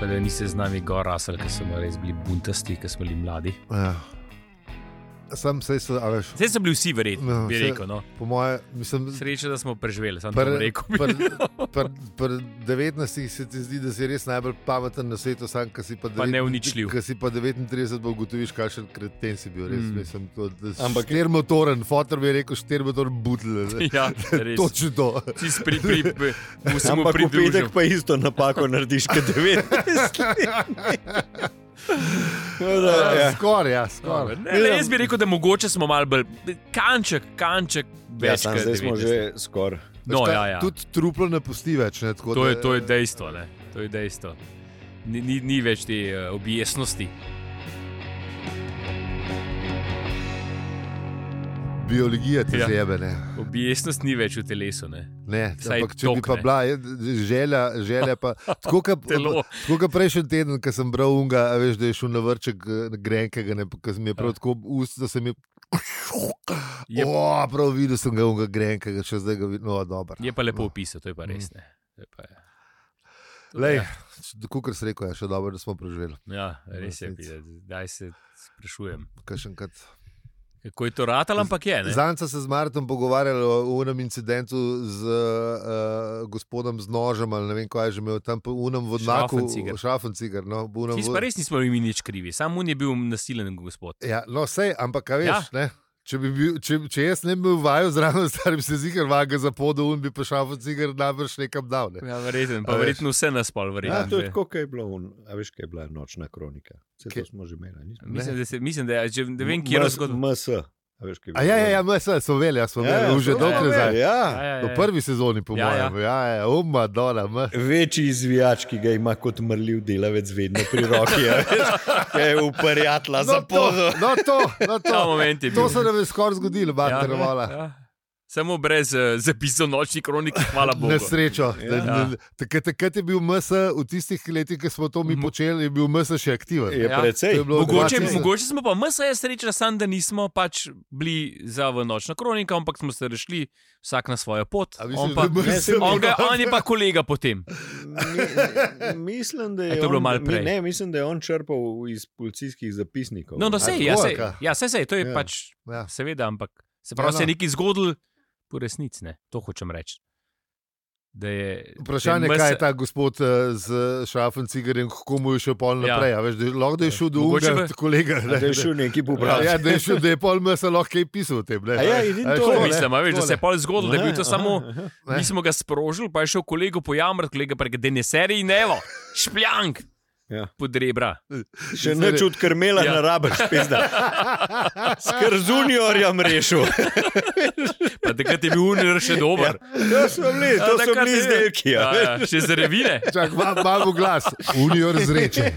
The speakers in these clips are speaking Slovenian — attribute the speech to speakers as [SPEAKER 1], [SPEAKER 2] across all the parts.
[SPEAKER 1] Pa da nisi z nami gor rasel, ker smo res bili buntasti, ker smo bili mladi.
[SPEAKER 2] Ja. Sam se je, a veš.
[SPEAKER 1] Zdaj so bili vsi verjetni, no,
[SPEAKER 2] no,
[SPEAKER 1] bi
[SPEAKER 2] saj-
[SPEAKER 1] rekel. No.
[SPEAKER 2] Po moje, mislim,
[SPEAKER 1] Srečo, da smo preživeli, sem
[SPEAKER 2] Pr-
[SPEAKER 1] pr, rekel. Pr,
[SPEAKER 2] pr- pr- Pri 19 se ti zdi, da si res najbolj pameten na svetu, sam, ki si pa,
[SPEAKER 1] Pa neuničljiv.
[SPEAKER 2] Ki si pa 39, bo ugotoviš, kakšen kreten si bil. Res, mm. mislim, to, da,
[SPEAKER 3] Ampak-
[SPEAKER 2] Ampak štirmotoren, fotor bi rekel štirmotoren butl.
[SPEAKER 1] ja, res.
[SPEAKER 2] Točno to.
[SPEAKER 1] Čist pri, pri, pri, vsemu
[SPEAKER 3] Ampak v
[SPEAKER 1] pridružil.
[SPEAKER 3] petek pa isto napako narediš, kot 19. da, ja.
[SPEAKER 2] Ja. Skoraj, ja,
[SPEAKER 1] Dobro,
[SPEAKER 2] skoraj.
[SPEAKER 1] Ne, le, jaz bi rekel, da mogoče smo malo bolj kanček, kanček
[SPEAKER 3] Ja,
[SPEAKER 1] več.
[SPEAKER 3] sam,
[SPEAKER 1] kot
[SPEAKER 3] zdaj smo
[SPEAKER 1] 19.
[SPEAKER 3] že skoraj.
[SPEAKER 1] No,
[SPEAKER 2] Veš kaj,
[SPEAKER 1] ja, ja.
[SPEAKER 2] Tudi truplo ne pusti več. Ne, tako
[SPEAKER 1] To,
[SPEAKER 2] da-
[SPEAKER 1] je, to je dejstvo. Ne? To je dejstvo. Ni, ni, ni več te eh, objesnosti.
[SPEAKER 2] biologija, ti
[SPEAKER 1] Ja.
[SPEAKER 2] ja. zebe. Ne.
[SPEAKER 1] Objesnost ni več v telesu. Ne?
[SPEAKER 2] Ne,
[SPEAKER 1] Vsaj
[SPEAKER 2] ampak, če bi
[SPEAKER 1] tok,
[SPEAKER 2] pa
[SPEAKER 1] ne.
[SPEAKER 2] bila je, želja, želja pa, tako kot
[SPEAKER 1] Telo.
[SPEAKER 2] prejšnji teden, ko sem bral unga, a veš, da je šel na vrček eh, grenkega, ker mi je prav tako ust, da sem jih.
[SPEAKER 1] Ja. Je-
[SPEAKER 2] O, prav videl sem ga unga grenkega, če zdaj ga vidim. No, dobro.
[SPEAKER 1] Je pa lepo opisal, to je pa res. Ne? To je Pa, to
[SPEAKER 2] Lej,
[SPEAKER 1] je-
[SPEAKER 2] tako kot se reko, je ja, še dobro, da smo preživeli.
[SPEAKER 1] Ja, res je,
[SPEAKER 2] Resnici.
[SPEAKER 1] Peter, zdaj se sprašujem.
[SPEAKER 2] Kakšenkrat.
[SPEAKER 1] Kako je to ratal, ampak je. ne?
[SPEAKER 2] Zanca se z Martom pogovarjali o unem incidentu z uh, gospodom z nožem, ali ne vem, kaj je že imel tam, po unem vodnaku,
[SPEAKER 1] Schaffenziger.
[SPEAKER 2] šafencigar. No, po onem
[SPEAKER 1] Tisti
[SPEAKER 2] vod-
[SPEAKER 1] pa res nismo bili mi nič krivi, samo on je bil nasilen gospod.
[SPEAKER 2] Ja, no, sej, ampak kaj veš, ja. ne? Če, bi bil, če, če jaz ne bi bil vajen zraven, star bi se zigar vaga za podo in bi pa šel v cigar najbrž nekam dal. Ne?
[SPEAKER 1] Ja, verjetno,
[SPEAKER 2] A
[SPEAKER 1] pa
[SPEAKER 2] veš.
[SPEAKER 1] verjetno vse nas pol,
[SPEAKER 3] Ja, to je
[SPEAKER 1] verjetno.
[SPEAKER 3] tako, kot je bilo, un, a veš, kaj je bila nočna kronika. Vse to
[SPEAKER 2] Kaj?
[SPEAKER 3] smo že imeli. nismo?
[SPEAKER 1] Mislim, da, se, mislim, da je, že ne vem, kje je
[SPEAKER 3] MS,
[SPEAKER 1] zgodba.
[SPEAKER 3] MS, a veš, kaj je
[SPEAKER 2] A ja, ja, ja, mi smo imeli, ja, smo imeli, ja, že
[SPEAKER 3] to
[SPEAKER 2] dolgo
[SPEAKER 3] smo imeli,
[SPEAKER 2] nazaj.
[SPEAKER 3] Ja.
[SPEAKER 1] Ja, ja, ja.
[SPEAKER 2] V prvi sezoni, po
[SPEAKER 1] Ja, ja.
[SPEAKER 2] mojem, ja, ja, umma, dola, m.
[SPEAKER 3] Večji izvijač, ki ga ima kot mrljiv delavec, vedno pri roki, a veš, ki je uprjatla za
[SPEAKER 2] to,
[SPEAKER 3] pozo.
[SPEAKER 2] no to, no to.
[SPEAKER 1] Ta moment je bil.
[SPEAKER 2] To se nam je skoraj zgodilo, mater, ja,
[SPEAKER 1] ja. Samo brez uh, zapisov nočnih kronik, hvala Bogu.
[SPEAKER 2] Na srečo.
[SPEAKER 3] Ja.
[SPEAKER 2] Ja. Takrat takrat je bil MS, v tistih letih, ko smo to mi
[SPEAKER 1] Mhm.
[SPEAKER 2] počeli, je bil MS še aktiven.
[SPEAKER 3] Je
[SPEAKER 1] Ja.
[SPEAKER 3] precej.
[SPEAKER 2] To je bilo
[SPEAKER 1] Mogoče,
[SPEAKER 2] 2000.
[SPEAKER 1] mogoče smo pa, MSA je sreča, sam, da nismo pač bili za v nočno kroniko, ampak smo se rešili vsak na svojo pot.
[SPEAKER 2] A
[SPEAKER 1] On,
[SPEAKER 2] misliš,
[SPEAKER 1] pa,
[SPEAKER 2] da je
[SPEAKER 3] Ne,
[SPEAKER 2] MS
[SPEAKER 3] se-
[SPEAKER 1] on, ga, on je pa kolega potem.
[SPEAKER 3] Mi- Mislim, da
[SPEAKER 1] A
[SPEAKER 3] je,
[SPEAKER 1] to je bilo
[SPEAKER 3] on,
[SPEAKER 1] malo
[SPEAKER 3] mi-
[SPEAKER 1] prej?
[SPEAKER 3] Ne, mislim, da je on črpal iz policijskih zapisnikov.
[SPEAKER 1] No, no, sej,
[SPEAKER 2] tako,
[SPEAKER 1] ja, sej,
[SPEAKER 2] ali kaj?
[SPEAKER 1] ja, sej, sej, to je
[SPEAKER 3] Ja.
[SPEAKER 1] ja. pač,
[SPEAKER 2] Ja.
[SPEAKER 1] seveda, ampak se pravi,
[SPEAKER 2] Ja, no.
[SPEAKER 1] se je nekaj zgodilo, po resnici ne, to hočem reči. Da je,
[SPEAKER 2] Vprašanje
[SPEAKER 1] da MS
[SPEAKER 2] je, kaj je ta gospod eh, z šafom cigarjem, kako mu je šel pol
[SPEAKER 1] Ja.
[SPEAKER 2] naprej. a Veš, da, je- lahko da je šel do
[SPEAKER 1] Mogoče
[SPEAKER 2] unega
[SPEAKER 1] bi-
[SPEAKER 2] kolega.
[SPEAKER 3] Da je šel neki popravek.
[SPEAKER 2] Ja, da je šel, da je pol mesa lahko kaj pisal o tem. Ne,
[SPEAKER 3] A ja, in
[SPEAKER 2] A
[SPEAKER 3] to
[SPEAKER 1] To
[SPEAKER 3] Tole,
[SPEAKER 1] mislim, a veš, da se je
[SPEAKER 2] tole.
[SPEAKER 1] pol zgodilo, da je bil to samo.
[SPEAKER 2] Ne.
[SPEAKER 1] Mi smo ga sprožili, pa je šel kolego pojamrati, kolega pa je rekel, da ne seri in evo, špljank.
[SPEAKER 3] Ja.
[SPEAKER 1] Pod rebra.
[SPEAKER 3] Še
[SPEAKER 2] Zdaj-
[SPEAKER 3] neč od krmela
[SPEAKER 1] Ja.
[SPEAKER 3] ja. narabe, spizda. Ker zunjorjem rešil.
[SPEAKER 1] Pa Takrat je bil unir še dober.
[SPEAKER 3] To so bili,
[SPEAKER 2] Ja,
[SPEAKER 3] to so
[SPEAKER 1] Ja. Takrat
[SPEAKER 3] bili
[SPEAKER 1] je-
[SPEAKER 3] izdelki.
[SPEAKER 1] Ja,
[SPEAKER 3] Ja. veš.
[SPEAKER 1] ja, še za revine.
[SPEAKER 2] Čak, ma- malo glas, unijo razreče.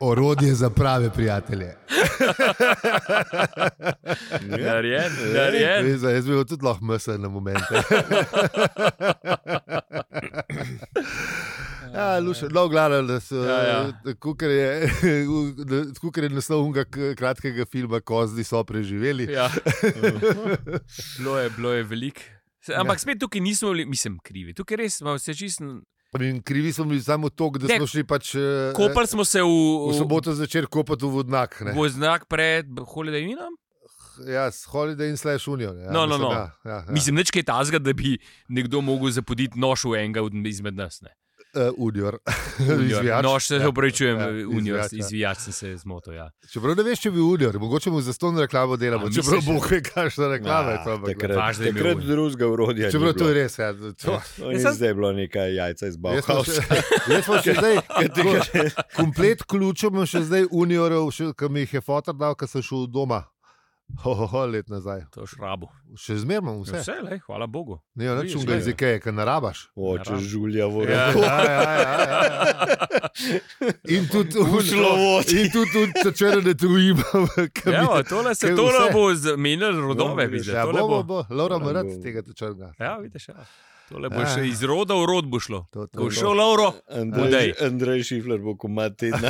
[SPEAKER 2] Orodje za prave prijatelje.
[SPEAKER 1] Ja.
[SPEAKER 3] Ja.
[SPEAKER 2] Ja.
[SPEAKER 1] Narejen, narejen.
[SPEAKER 2] Veš, da Jaz bi bil tudi lahko mesa na momente. Ja, lušen, no, glavno, da so,
[SPEAKER 1] Ja, ja.
[SPEAKER 2] tako ker je, da- tako ker je naslov unega k- kratkega filma Kozdi so preživeli.
[SPEAKER 1] Ja.
[SPEAKER 2] Ja.
[SPEAKER 1] Bilo je, bilo je veliko. Se- Ampak spet tukaj nismo bili, mislim, krivi. Tukaj res smo se čisto.
[SPEAKER 2] In krivi smo bili samo to, da
[SPEAKER 1] Ja. Ne,
[SPEAKER 2] smo šli pač eh,
[SPEAKER 1] Kopali smo se v,
[SPEAKER 2] v soboto zvečer kopati v vodnak. ne.
[SPEAKER 1] Voznak pred Holidajinom.
[SPEAKER 2] Ja, s Holiday in Slash Union. Ja,
[SPEAKER 1] No, no,
[SPEAKER 2] mislim,
[SPEAKER 1] no.
[SPEAKER 2] Ja, ja, ja.
[SPEAKER 1] Mislim, nič kaj tazga, da bi nekdo mogel zapoditi nož v enega od- izmed nas. Ne?
[SPEAKER 2] Uh, Unior.
[SPEAKER 1] Unior.
[SPEAKER 2] Izvijač.
[SPEAKER 1] Nož se
[SPEAKER 2] Ja.
[SPEAKER 1] upravičujem,
[SPEAKER 2] ja,
[SPEAKER 1] unijo,
[SPEAKER 2] izvijač, ja.
[SPEAKER 1] izvijač sem se zmotil. Ja.
[SPEAKER 2] Čeprav ne veš, če bi unior, mogoče mu za ston reklamo
[SPEAKER 1] A,
[SPEAKER 2] delamo,
[SPEAKER 1] Ja,
[SPEAKER 2] čeprav
[SPEAKER 1] misliš?
[SPEAKER 2] bo kaj kakšna reklama. je to, ampak-
[SPEAKER 3] Takrat,
[SPEAKER 1] Važno je imel
[SPEAKER 3] takrat
[SPEAKER 1] un.
[SPEAKER 3] drugega urodja.
[SPEAKER 2] Čeprav to je res. Ja, to,
[SPEAKER 3] Oni
[SPEAKER 1] Jaz sem-
[SPEAKER 3] zdaj je bilo nekaj jajca
[SPEAKER 2] Jaz
[SPEAKER 3] iz
[SPEAKER 2] smo
[SPEAKER 3] Bauhausa.
[SPEAKER 2] še- jaz smo še zdaj, ko- komplet ključem še zdaj uniorov, še- ki mi jih je fotor dal, ko sem šel doma. Hohoho, let nazaj.
[SPEAKER 1] To je šrabo.
[SPEAKER 2] Še zmerno
[SPEAKER 1] Ja, Vse,
[SPEAKER 2] vse.
[SPEAKER 1] vse lej, hvala Bogu.
[SPEAKER 2] Ne,
[SPEAKER 1] Vidiš,
[SPEAKER 2] več unga
[SPEAKER 1] ja.
[SPEAKER 2] jezika je, ker narabaš.
[SPEAKER 3] Oče
[SPEAKER 1] Naravno.
[SPEAKER 3] žulja v
[SPEAKER 1] Ja.
[SPEAKER 3] roko.
[SPEAKER 2] Ja, ja, ja, ja, ja. In tudi un-
[SPEAKER 3] Ušlovod.
[SPEAKER 2] In tudi črne tujim, ki mi
[SPEAKER 1] Evo, tole se
[SPEAKER 2] kaj
[SPEAKER 1] tole
[SPEAKER 2] vse.
[SPEAKER 1] bo zamenjalo rodove.
[SPEAKER 3] Ja,
[SPEAKER 1] vidiš,
[SPEAKER 2] Ja,
[SPEAKER 1] tole
[SPEAKER 2] bo, bo,
[SPEAKER 1] bo-
[SPEAKER 2] bo, Laura
[SPEAKER 3] Ja,
[SPEAKER 2] Marat
[SPEAKER 3] bo.
[SPEAKER 2] tega črnega.
[SPEAKER 1] Ja, vidiš, ja. Tole bo
[SPEAKER 2] Ja.
[SPEAKER 1] še iz roda v rod bo šlo.
[SPEAKER 2] To, to,
[SPEAKER 1] Ko bo
[SPEAKER 2] to.
[SPEAKER 1] šel Lauro, Budej.
[SPEAKER 3] Andrej, Andrej Šifler bo komat tedna.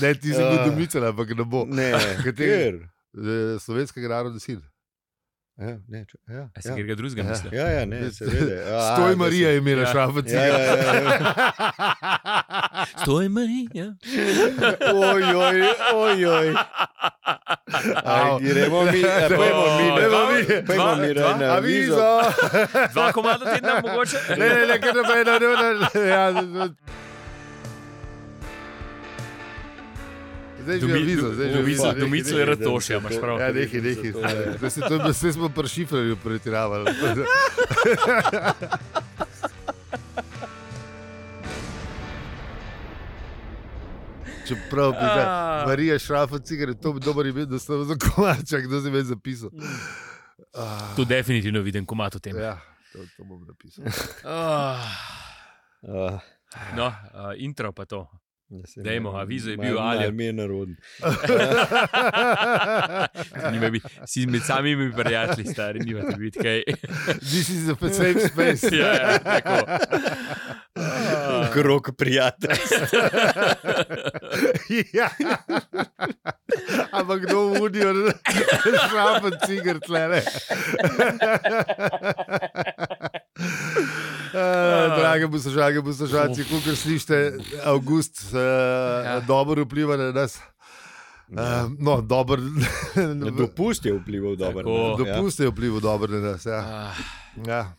[SPEAKER 2] Ne, ti si
[SPEAKER 3] Ja.
[SPEAKER 2] kot domicelj, ampak ne bo.
[SPEAKER 3] Ne,
[SPEAKER 2] Kateri?
[SPEAKER 3] kateri?
[SPEAKER 2] Eh, Slovenskega naroda sin.
[SPEAKER 3] Ja, ne, ču, ja,
[SPEAKER 1] A si
[SPEAKER 3] ja.
[SPEAKER 1] ja. kaj drugega
[SPEAKER 2] Ja.
[SPEAKER 1] misliš?
[SPEAKER 3] ja, ja, ne, seveda. A,
[SPEAKER 2] Stoj
[SPEAKER 3] da
[SPEAKER 2] Marija je imela
[SPEAKER 1] Ja.
[SPEAKER 2] šrafec.
[SPEAKER 3] Ja, ja, ja, ja.
[SPEAKER 1] Stoj, Marija. Ja.
[SPEAKER 3] Ojoj, ojoj.
[SPEAKER 2] Au.
[SPEAKER 3] Aj, gremo mi, eh, pojdimo mi,
[SPEAKER 1] Dva-
[SPEAKER 3] ne,
[SPEAKER 1] dva-
[SPEAKER 3] pojdimo mi
[SPEAKER 1] dva-
[SPEAKER 3] raje na vizo.
[SPEAKER 2] Avizo.
[SPEAKER 1] Dva komada tedna mogoče?
[SPEAKER 2] Ne, ne, ne, kar naprej, ne, ne, ne, ne. Ja, ne, ne. Zdaj že
[SPEAKER 1] Domi-
[SPEAKER 2] avizo,
[SPEAKER 1] do-
[SPEAKER 2] zdaj že
[SPEAKER 1] do-
[SPEAKER 2] avizo.
[SPEAKER 1] domizel-
[SPEAKER 2] Nekaj,
[SPEAKER 1] domizel
[SPEAKER 2] nekaj.
[SPEAKER 1] Ratošja, imaš prav.
[SPEAKER 2] Ja, nekaj, nekaj. Zdaj se to- Zdaj smo pri šifrarju pretiravali. Čeprav bi da,
[SPEAKER 1] Ah.
[SPEAKER 2] Marija Šrafa cigar, to bi dobro ime, da sem za kovača, kdo se me je zapisal.
[SPEAKER 3] Mm.
[SPEAKER 2] Ah,
[SPEAKER 1] To definitivno vidim komat v tem.
[SPEAKER 2] ja, to, to bom napisal.
[SPEAKER 1] Ah,
[SPEAKER 3] Ah,
[SPEAKER 1] No, uh, intro pa to.
[SPEAKER 3] ne, saj
[SPEAKER 1] Dajmo,
[SPEAKER 3] malo-
[SPEAKER 1] avizo je
[SPEAKER 3] malo-
[SPEAKER 1] bil, ali-
[SPEAKER 3] malo Mi je naroden.
[SPEAKER 1] Nima bi, si med samimi prijatelji, stari, nimate biti kaj.
[SPEAKER 2] This is a safe space.
[SPEAKER 1] ja, ja, tako. Ah,
[SPEAKER 3] Krok prijatelj.
[SPEAKER 2] ja. Ampak kdo unijo, šrapen cigar tlele. Drage poslušalke, poslušalci, kot slišite, avgust uh, ja. dobro vpliva na nas. Uh, no, dober,
[SPEAKER 3] Dopust je vplival dobro.
[SPEAKER 1] Tako.
[SPEAKER 3] ne, ja.
[SPEAKER 2] Dopust je vplival dobro na nas. Ja.
[SPEAKER 1] ah,
[SPEAKER 2] Ja.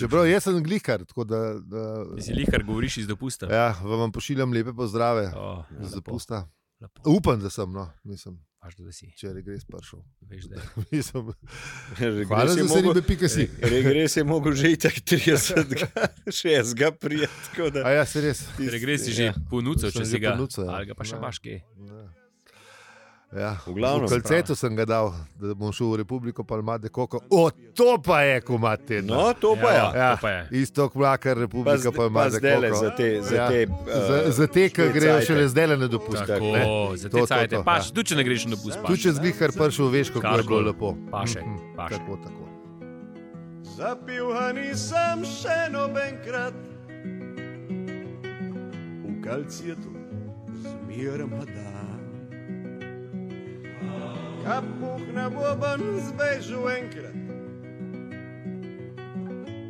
[SPEAKER 2] Čeprav jaz sem glihar, tako da, da
[SPEAKER 1] ti Si lihar, govoriš iz dopusta.
[SPEAKER 2] ja, vam pošiljam lepe pozdrave.
[SPEAKER 1] Oh,
[SPEAKER 3] Ja,
[SPEAKER 2] Z dopusta.
[SPEAKER 1] Lepo,
[SPEAKER 2] Upam, da sem, no, nisem,
[SPEAKER 1] važno, da si.
[SPEAKER 2] če regres prišel.
[SPEAKER 1] Veš, da.
[SPEAKER 2] Nisem.
[SPEAKER 3] Regres
[SPEAKER 2] Hvala
[SPEAKER 3] je
[SPEAKER 2] za
[SPEAKER 3] mogel-
[SPEAKER 2] seribe, pika si.
[SPEAKER 3] Regres je mogel že itak 30, 60 prijet. tako da
[SPEAKER 2] A ja, se res.
[SPEAKER 3] tisti-
[SPEAKER 1] Regres si že
[SPEAKER 3] ja.
[SPEAKER 1] ponucal,
[SPEAKER 2] Sem
[SPEAKER 1] če
[SPEAKER 2] že
[SPEAKER 1] si ga.
[SPEAKER 2] ponucal, ja.
[SPEAKER 1] Ali ga pa še
[SPEAKER 2] Ja.
[SPEAKER 1] imaš kje.
[SPEAKER 2] Ja. Ja.
[SPEAKER 3] V glavnem,
[SPEAKER 2] kalcetu sem ga dal, da bom šel v Republiko Palmade Koko. O, to pa je komat tedna.
[SPEAKER 3] No, to pa ja.
[SPEAKER 2] ja.
[SPEAKER 1] to pa je.
[SPEAKER 2] Istok vlaka
[SPEAKER 3] Pa,
[SPEAKER 2] Republika
[SPEAKER 3] zd- pa
[SPEAKER 2] Palmade
[SPEAKER 3] zdaj le za
[SPEAKER 2] Koko.
[SPEAKER 3] te, za
[SPEAKER 2] Ja.
[SPEAKER 3] te, eh,
[SPEAKER 2] Za, za te, ki grejo še le zdaj na dopust.
[SPEAKER 1] Tako,
[SPEAKER 3] ne.
[SPEAKER 1] za te
[SPEAKER 2] To, to,
[SPEAKER 1] cajte.
[SPEAKER 2] to,
[SPEAKER 1] Paš,
[SPEAKER 2] ja.
[SPEAKER 1] tudi če ne greš na dopust.
[SPEAKER 2] Tu
[SPEAKER 1] paš.
[SPEAKER 2] če zglihar prišel, veš, kako je
[SPEAKER 1] Karkoli.
[SPEAKER 2] bilo lepo.
[SPEAKER 1] Paše,
[SPEAKER 2] Mhm.
[SPEAKER 1] paše.
[SPEAKER 2] Tako, tako.
[SPEAKER 4] Zapivha nisem še nobenkrat. V kalcetu zmeraj mlada. Kapuh na boben zbežal enkrat.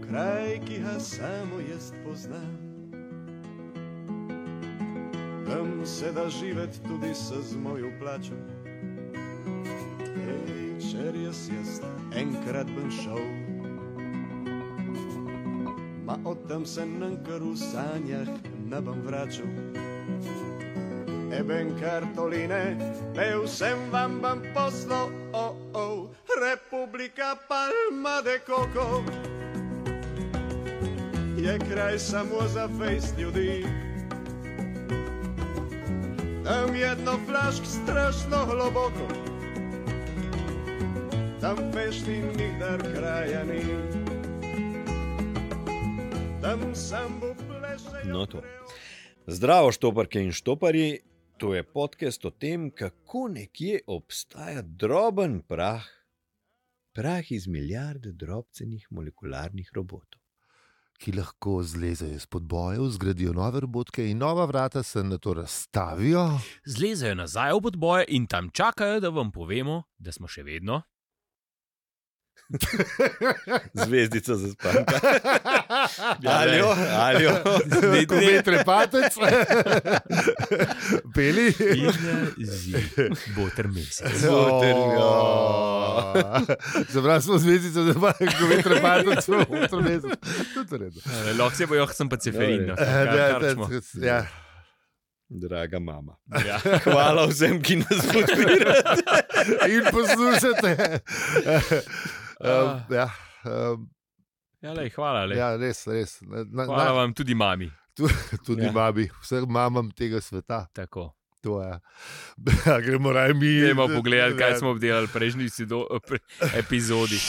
[SPEAKER 4] Kraj, ki ga samo jaz poznam. Tam se da živeti tudi se z mojo plačo. Ej, če res jaz enkrat bom šel. Ma od tam se nam kar v sanjah ne bom vračal. Eben kartoline, pel sem vam bom poslal, o, oh, o, oh, Republika Palma de Coco. Je kraj samo za fejst ljudi. Tam jedno flašk strašno globoko, tam pešni nikdar kraja ni. Tam sam bo plešal.
[SPEAKER 3] No, to. Zdravo, štoparke in štoparji. To je podcast o tem, kako nekje obstaja droben prah, prah iz milijarde drobcenih molekularnih robotov.
[SPEAKER 2] ki lahko zlezejo izpod bojev, zgradijo nove robotke in nova vrata se na to razstavijo.
[SPEAKER 1] Zlezajo nazaj v podboje in tam čakajo, da vam povemo, da smo še vedno.
[SPEAKER 3] Zvezdica za spanka. Ja, Alijo, alijo.
[SPEAKER 1] Ne,
[SPEAKER 2] Ko
[SPEAKER 1] ne.
[SPEAKER 2] je trepatec, peli.
[SPEAKER 1] eh, Izjemno bo trmesec.
[SPEAKER 2] ja. O, Ja. Zabrali smo zvezdico, da ima kometre patec v otro mesecu. To je v redu.
[SPEAKER 1] Eh, Lahko se bojo, sem pa ceferin. no, kar-
[SPEAKER 2] Ja,
[SPEAKER 1] kar
[SPEAKER 2] da,
[SPEAKER 1] čmo.
[SPEAKER 2] ja.
[SPEAKER 3] Draga mama.
[SPEAKER 1] Ja.
[SPEAKER 3] Hvala vsem, ki nas podpirate.
[SPEAKER 2] In poslušate. Um, Ja, um,
[SPEAKER 1] Ja, lej, hvala, Ah. lej.
[SPEAKER 2] ja, res, res. Na, na,
[SPEAKER 1] hvala
[SPEAKER 2] na,
[SPEAKER 1] vam tudi mami.
[SPEAKER 2] tudi
[SPEAKER 3] Ja.
[SPEAKER 2] mami, vsem mamam tega sveta.
[SPEAKER 1] Tako.
[SPEAKER 2] To je. Ja, gremo raje mi.
[SPEAKER 1] Gremo pogledat, kaj smo obdelali v prejšnji sido- pre, epizodi.